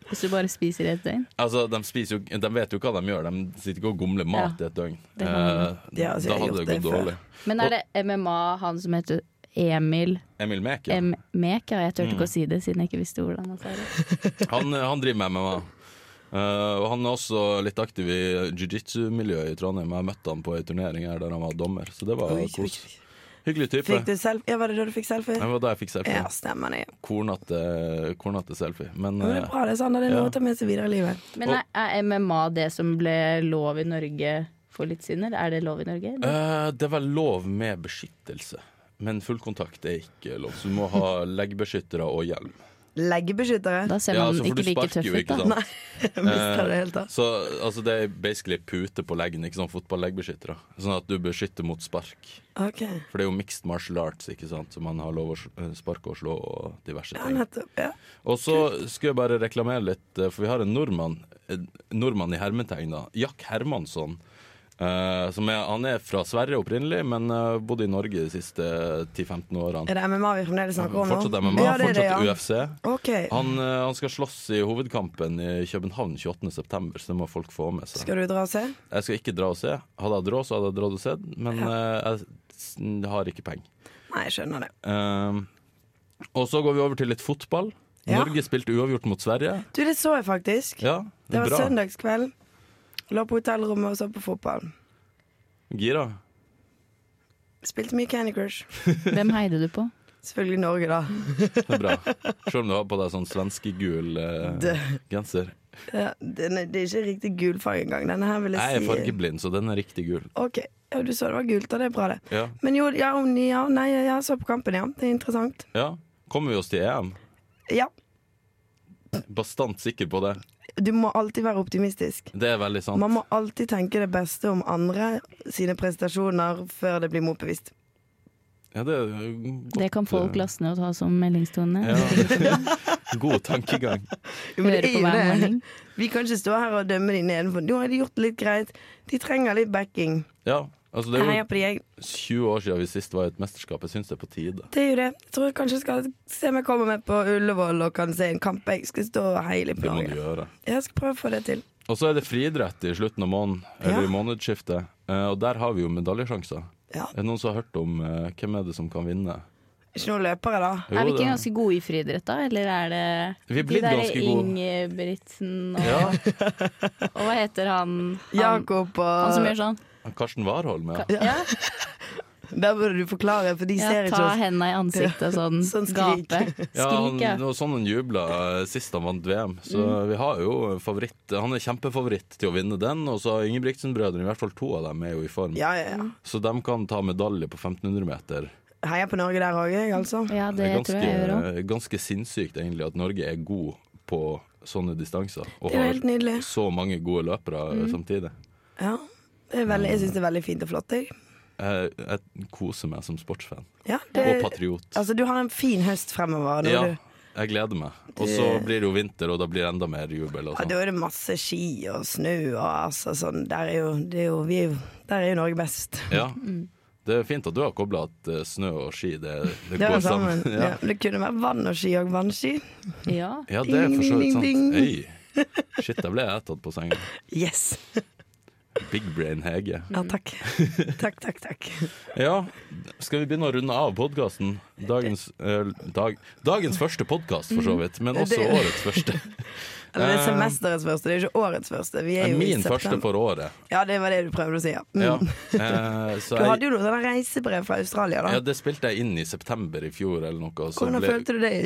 C: Hvis du bare spiser i et døgn.
A: Altså, de, spiser jo, de vet jo hva de gjør, de sitter ikke og gomler mat
C: Ja,
A: i et døgn.
C: det kan
A: Eh,
B: de. Ja, altså, jeg
A: da
B: har
A: hadde
B: gjort
A: det
B: det
A: gått
B: før.
A: dårlig.
C: Men er det MMA, han som heter Emil
A: Emil Mek, ja.
C: M. Mek? Ja, jeg turte ikke å si det siden jeg ikke visste hvordan han sa det.
A: Han, han driver med MMA. Eh, og han er også litt aktiv i jiu-jitsu-miljøet i Trondheim. Jeg møtte han på ei turnering her der han var dommer, så det var
B: Oi,
A: kos. Hyggelig type.
B: Fikk du selfie? Ja, var det da du fikk selfie?
A: Det var da jeg fikk selfie.
B: Ja, stemmer det.
A: Kornete, kornete selfie. Men
B: Ja, Men det
A: eh,
B: er bra, det er sånn. Det er
A: Ja.
B: noe å ta med seg videre i livet.
C: Men er, er MMA det som ble lov i Norge for litt siden? eller Er det lov i Norge? eller?
A: eh, det var lov med beskyttelse. Men fullkontakt er ikke lov, så du må ha leggbeskyttere og hjelm.
B: Leggebeskyttere.
C: Da ser man
A: altså,
C: ikke like tøff ut, da.
A: sant?
B: Nei, <laughs> jeg mista det helt, da.
A: Så altså, det er basically pute på leggen, ikke sånn fotballeggbeskyttere. Sånn at du beskytter mot spark.
B: Ok.
A: For det er jo mixed martial arts, ikke sant? så man har lov å sl- eh, sparke og slå og diverse
B: Ja,
A: ting.
B: nettopp. Ja.
A: Og så skulle jeg bare reklamere litt, eh, for vi har en nordmann, en nordmann i hermetegn, da. Jack Hermansson. eh, som er, han er fra Sverige opprinnelig, men uh, bodde i Norge de siste 10-15 årene.
B: Er det MMA vi fremdeles snakker om nå?
A: Fortsatt MMA,
B: Ja, det er det,
A: fortsatt
B: ja.
A: UFC.
B: Ok.
A: Han, eh, han skal slåss i hovedkampen i København 28.9, så det må folk få med seg.
B: Skal du dra og se?
A: Jeg skal ikke dra og se. Hadde jeg hatt råd, så hadde jeg dratt og sett, men eh, jeg s- har ikke penger.
B: Nei, jeg skjønner det.
A: Um, og så går vi over til litt fotball.
B: Ja.
A: Norge spilte uavgjort mot Sverige.
B: Du, det så jeg faktisk.
A: Ja,
B: Det var
A: bra.
B: søndagskveld. Lå på hotellrommet og så på fotball.
A: Gira.
B: Spilte mye Candy Crush.
A: sånn.
C: Hvem heide du på?
B: Selvfølgelig Norge, da.
A: Det er
B: <laughs>
A: bra. Selv om du har på deg sånn svenskegul eh,
B: Det-
A: genser.
B: Ja, den er, det er ikke riktig gul farge engang. Denne her vil
A: Jeg
B: jeg
A: er
B: si
A: fargeblind, så den er riktig gul.
B: OK. Ja, du så det var gult, og det er bra, det.
A: Ja.
B: Men jo, ja, om ni- ja, nei, jeg så på kampen, ja. Det er interessant.
A: ja. Kommer vi oss til EM?
B: Ja.
A: Bastant sikker på det.
B: Du må alltid være optimistisk.
A: Det er veldig sant.
B: Man må alltid tenke det beste om andre sine prestasjoner før det blir motbevist.
A: Ja, det er godt,
C: Det kan folk
A: eh,
C: laste ned og ta som meldingstone.
A: Ja. <laughs> God tankegang.
B: Jo, men
C: Høre
B: det er
C: på
B: jo
C: hver
B: det.
C: morgen.
B: <laughs> Vi kan ikke stå her og dømme de nedenfor. Nå har de gjort det litt greit. De trenger litt backing.
A: Ja, altså det
B: Jeg
A: er
B: heier
A: jo
B: på de, jeg.
A: 20 år siden vi sist var i et mesterskap. Jeg syns det er på tide.
B: Det er jo det. Jeg tror jeg kanskje jeg skal se om jeg kommer med på Ullevål og kan se en kamp. Jeg skal stå og heie litt på
A: Det må du
B: Norge.
A: gjøre.
B: Jeg skal prøve å få det til.
A: Og så er det friidrett i slutten av måneden, eller i månedsskiftet. Eh, og der har vi jo medaljesjanser.
B: Ja.
A: Er det noen som har hørt om eh, hvem er det som kan vinne?
B: Ikke noen løpere, da.
A: Jo, eh,
C: Er vi ikke
A: det-
C: ganske gode i friidrett, da? Eller er det
A: Vi er blitt
C: de
A: ganske gode.
C: Ingebrigtsen og,
A: Ja,
C: og hva heter han? Han,
B: Jakob
C: han som
B: og
C: gjør sånn?
A: Karsten Warholm, ja.
C: Ja,
B: <laughs> Der burde du forklare, for de
C: ja
B: ser ikke
C: ta
B: oss.
C: henda i ansiktet og sånn,
B: <laughs> Sånn skrik.
C: gape.
B: <laughs>
A: ja han,
C: Skrik, ja.
A: og sånn han jubla eh, sist han vant VM, så vi har jo en favoritt. Han er kjempefavoritt til å vinne den, og så har Ingebrigtsen-brødrene, i hvert fall to av dem, er jo i form.
B: Ja, ja, ja.
A: Så de kan ta medalje på 1500 meter.
B: Heier på Norge der òg, jeg, altså.
C: Ja, det
A: er ganske,
C: tror jeg jeg gjør òg.
A: eh, ganske sinnssykt, egentlig, at Norge er god på sånne distanser. Og
B: Det er jo helt nydelig.
A: så mange gode løpere eh, samtidig.
B: Ja. Det er veldig, jeg syns det er veldig fint og flott, jeg.
A: Jeg, Eh, jeg koser meg som sportsfan
B: Ja,
A: og
B: det,
A: patriot.
B: altså, du har en fin høst fremover. Nå,
A: Ja,
B: du.
A: jeg gleder meg. Og så blir det jo vinter, og da blir det enda mer jubel. Og
B: Ja,
A: sånn.
B: da er det masse ski og snø og altså sånn. Der er jo, det er jo, vi er jo, der er jo Norge best.
A: ja.
B: Mm.
A: Det er fint at du har kobla at eh, snø og ski det, det
B: <laughs> Det
A: går
B: var sammen.
A: sammen.
B: Ja.
A: Ja.
B: men det kunne vært vann og ski og vannski.
A: eh,
C: Ja.
A: ja, det er for så vidt sant.
B: Ding, ding, ding,
A: Øy. Shit, da ble jeg tatt på senga.
B: Yes!
A: Big brain Hege.
B: Ja,
A: <laughs>
B: takk. Takk, takk, takk.
A: Ja, skal vi begynne å runde av podkasten? Dagens, eh, dag, dagens første podkast, for så vidt, men også
B: Mm. Det-
A: årets første.
B: Eller det er
A: Eh,
B: semesterets første, det er ikke årets første. Vi er
A: er
B: jo i
A: min første
B: september.
A: for året.
B: Ja, det var det du prøvde å si, ja. Mm.
A: Ja. Eh, så
B: Du hadde
A: jeg,
B: jo noe sånn reisebrev fra Australia, da.
A: ja, det spilte jeg inn i september i fjor eller noe. Så
B: Hvordan
A: ble,
B: følte du det?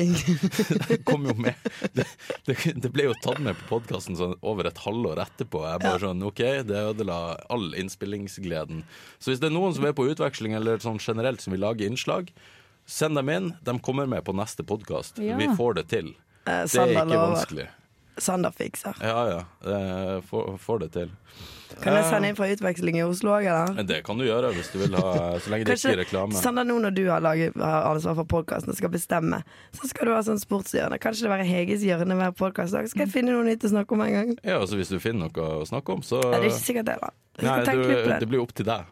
A: <laughs>
B: Inge?
A: kom jo med. Det, det, det ble jo tatt med på podkasten sånn over et halvår etterpå. Jeg bare sånn, ok, Det ødela all innspillingsgleden. Så hvis det er noen som er på utveksling eller sånn generelt som vil lage innslag, send dem inn. De kommer med på neste podkast.
C: Ja.
A: Vi får det til.
B: Eh,
A: Det er
B: Sander
A: ikke
B: lover.
A: vanskelig.
B: Sander fikser.
A: Ja, ja. eh, Får får det til.
B: Kan
A: Eh.
B: jeg sende inn fra utveksling i Oslo òg, eller?
A: Men det kan du gjøre hvis du vil ha, så lenge det ikke
B: Kanskje
A: er reklame.
B: Sander, nå når du har, laget, har ansvar for podkasten og skal bestemme, så skal du ha sånn sportshjørne. Kanskje det være Heges hjørne hver podkastdag. Skal jeg finne noe nytt å snakke om en gang?
A: Ja, altså Hvis du finner noe å snakke om, så
B: Ja, det er ikke sikkert det, da. Jeg
A: Nei,
B: skal tenke litt
A: du,
B: på
A: det
B: det.
A: blir opp til deg.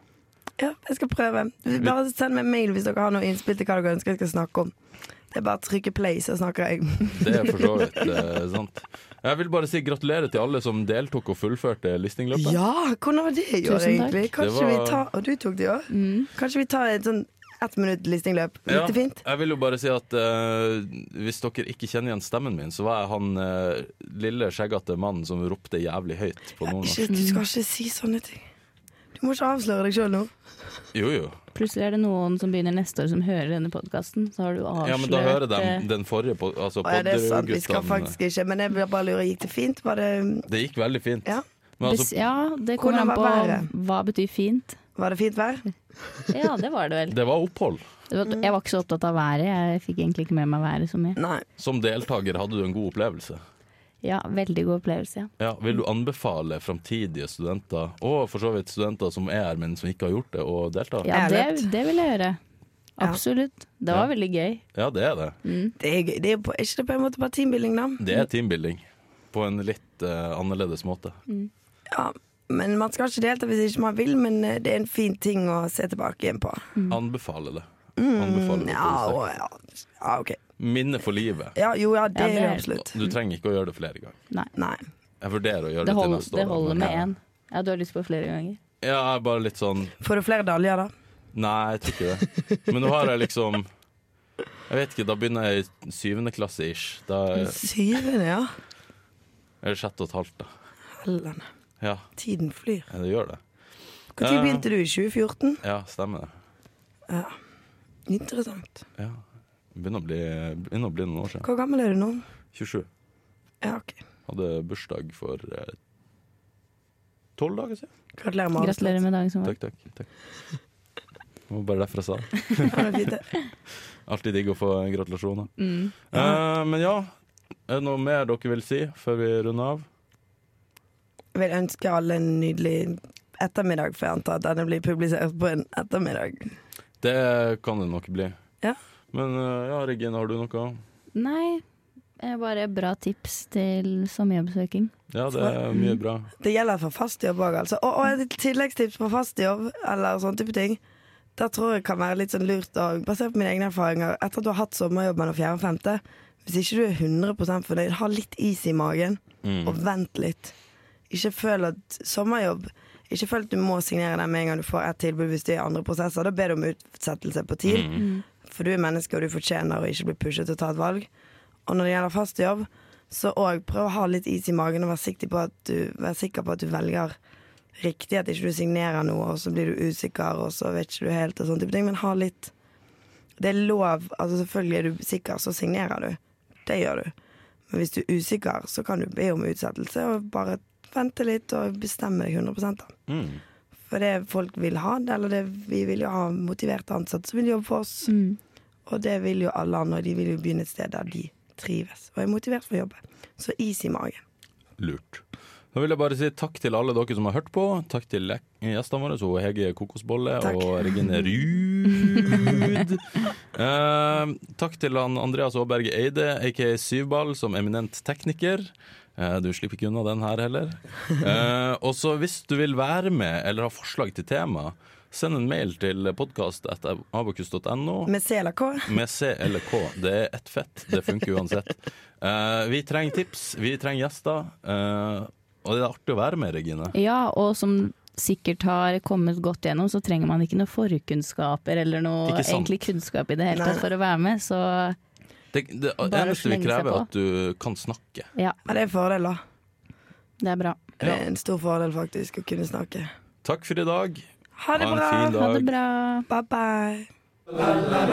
B: Ja, jeg skal prøve. Bare send meg mail hvis dere har noe innspill til hva dere ønsker jeg skal snakke om. Det er bare å trykke play, så snakker jeg.
A: Det er for så vidt eh, sant. Jeg vil bare si gratulerer til alle som deltok og fullførte listingløpet.
B: Ja, hvordan var det i år,
C: Tusen takk.
B: egentlig? Kanskje
A: Det var-
B: vi tar Og du tok det i år?
C: Mm.
B: Kanskje vi tar et sånn ett minutt listingløp? Gikk det fint?
A: jeg vil jo bare si at eh, hvis dere ikke kjenner igjen stemmen min, så var jeg han eh, lille, skjeggete mannen som ropte jævlig høyt på nordnorsk.
B: Ikke, du skal ikke si sånne ting. Du må ikke avsløre deg sjøl nå.
A: Jo, jo.
C: Plutselig er det noen som begynner neste år som hører denne podkasten. Så har du avslørt
A: Ja, men da hører de
C: eh,
A: den forrige, pod- altså
B: Ja, det er sant, vi skal
A: Podderud-guttene.
B: faktisk ikke. Men jeg vil bare lure, gikk det fint? Var det,
A: Det gikk veldig fint.
B: ja,
A: Men altså,
C: bes- Ja, det kommer
B: Hvordan
C: an
B: var
C: på
B: været?
C: hva betyr fint.
B: var det fint vær?
C: Ja, det var det vel.
A: det var opphold.
C: <laughs> Det var- Jeg var ikke så opptatt av været. Jeg fikk egentlig ikke med meg været så mye.
B: Nei.
A: Som deltaker hadde du en god opplevelse.
C: Ja, veldig god opplevelse. Ja.
A: Ja, vil du anbefale framtidige studenter, og for så vidt studenter som er her, men som ikke har gjort det, å delta? Ja,
C: Ja,
B: Ærlig.
C: det, det vil jeg gjøre. Absolutt. Det var veldig gøy. Mm.
A: det er det.
B: Det er gøy. Det er, på, er ikke det på en måte bare teambuilding, da?
A: Det er teambuilding. På en litt eh, annerledes måte.
B: Ja. Men man skal ikke delta hvis ikke man vil, men eh, det er en fin ting å se tilbake igjen på.
C: Mm.
A: Anbefale det. Anbefale det
B: Ja,
A: til
B: og, ja. ja OK.
A: deg. Minne for livet.
B: Ja, jo, ja, det er
C: Ja, det
B: det
C: er-
B: absolutt.
A: Du trenger ikke å gjøre det flere ganger.
C: Nei.
B: Nei.
A: Jeg vurderer å gjøre
C: Det,
A: det, til
C: hold,
A: neste år.
C: det holder
A: men-
C: med én. Ja, du har lyst på flere ganger.
A: Ja, jeg er bare litt sånn
B: Får du flere daljer, da?
A: Nei, jeg tror ikke det. Men nå har jeg liksom Jeg vet ikke, da begynner jeg i syvende klasse ish. Da er
B: Syvende, ja.
A: jeg sjette og et halvt, da.
B: Hellene.
A: Ja,
B: Tiden flyr.
A: det gjør det.
B: Når
A: Ja.
B: begynte du? I 2014?
A: Ja, stemmer det.
B: Ja. Interessant.
A: Ja. Begynner å bli, begynner å bli noen år siden.
B: Hvor gammel er du nå?
A: 27.
B: Ja, OK.
A: Hadde bursdag for eh, tolv dager siden.
B: Gratulerer med
C: Gratulerer med dagen som var.
A: Takk, takk. takk. Det var bare derfor jeg sa det.
B: avslutning. Ha det fint, det.
A: Alltid digg å få gratulasjoner.
C: Mm.
A: Eh, men ja, er det noe mer dere vil si før vi runder av?
B: vil ønske alle en nydelig ettermiddag, for jeg antar at denne blir publisert på en ettermiddag.
A: Det kan det nok bli.
B: Ja.
A: Men eh, ja, Regine, har du noe?
C: Nei, eh, bare bra tips til sommerjobbsøking.
A: Ja, det er mye bra.
B: Det gjelder for fast jobb òg, altså. Og, og et tilleggstips på fast jobb, eller sånne type ting. Der tror jeg kan være litt sånn lurt, og basert på mine egne erfaringer, etter at du har hatt sommerjobb mellom fjerde og femte, hvis ikke du er 100 fornøyd, ha litt is i magen,
A: Mm.
B: og vent litt. Ikke føl at sommerjobb Ikke føl at du må signere den med en gang du får et tilbud hvis du er i andre prosesser. Da ber du om utsettelse på tid.
C: Mm.
B: For du er menneske, og du fortjener å ikke bli pushet til å ta et valg. Og når det gjelder fast jobb, så òg prøv å ha litt is i magen og vær sikker på at du, vær sikker på at du velger riktig. At ikke du signerer noe, og så blir du usikker, og så vet ikke du helt, og sånne type ting. Men ha litt Det er lov. Altså selvfølgelig er du sikker, så signerer du. Det gjør du. Men hvis du er usikker, så kan du be om utsettelse og bare vente litt og bestemme deg 100 da.
A: Mm.
B: For det folk vil ha, eller det vi vil jo ha motiverte ansatte som vil jobbe for oss.
C: Mm.
B: Og det vil jo alle andre, og de vil jo begynne et sted der de trives og er motivert for å jobbe. Så is i magen.
A: Lurt. Da vil jeg bare si takk til alle dere som har hørt på. Takk til lek- gjestene våre, så Hege Kokosbolle
B: Takk.
A: og Regine Ruud. Eh, takk til han Andreas Aaberge Eide, aka Syvball, som eminent tekniker. Eh, du slipper ikke unna den her heller. Eh, og så hvis du vil være med eller har forslag til tema, send en mail til podkast.abokus.no
B: Med C eller K.
A: med C eller K. Det er ett fett. Det funker uansett. Eh, vi trenger tips, vi trenger gjester. eh, og det er artig å være med, Regine.
C: Ja, og som sikkert har kommet godt gjennom, så trenger man ikke noen forkunnskaper eller noe
A: Ikke sant.
C: egentlig kunnskap i det hele
B: Nei.
C: tatt for å være med. Så
A: Det, det
C: Bare
A: eneste vi
C: slenge seg
A: krever,
C: på.
A: er at du kan snakke.
B: Ja,
C: Ja,
B: det er en fordel, da.
C: det er bra.
B: Det
A: Ja.
B: er en stor fordel, faktisk, å kunne snakke.
A: Takk for i dag.
B: Ha det
A: Ha en
B: bra!
A: fin
C: Ha det
A: dag.
C: bra.
B: Bye, bye.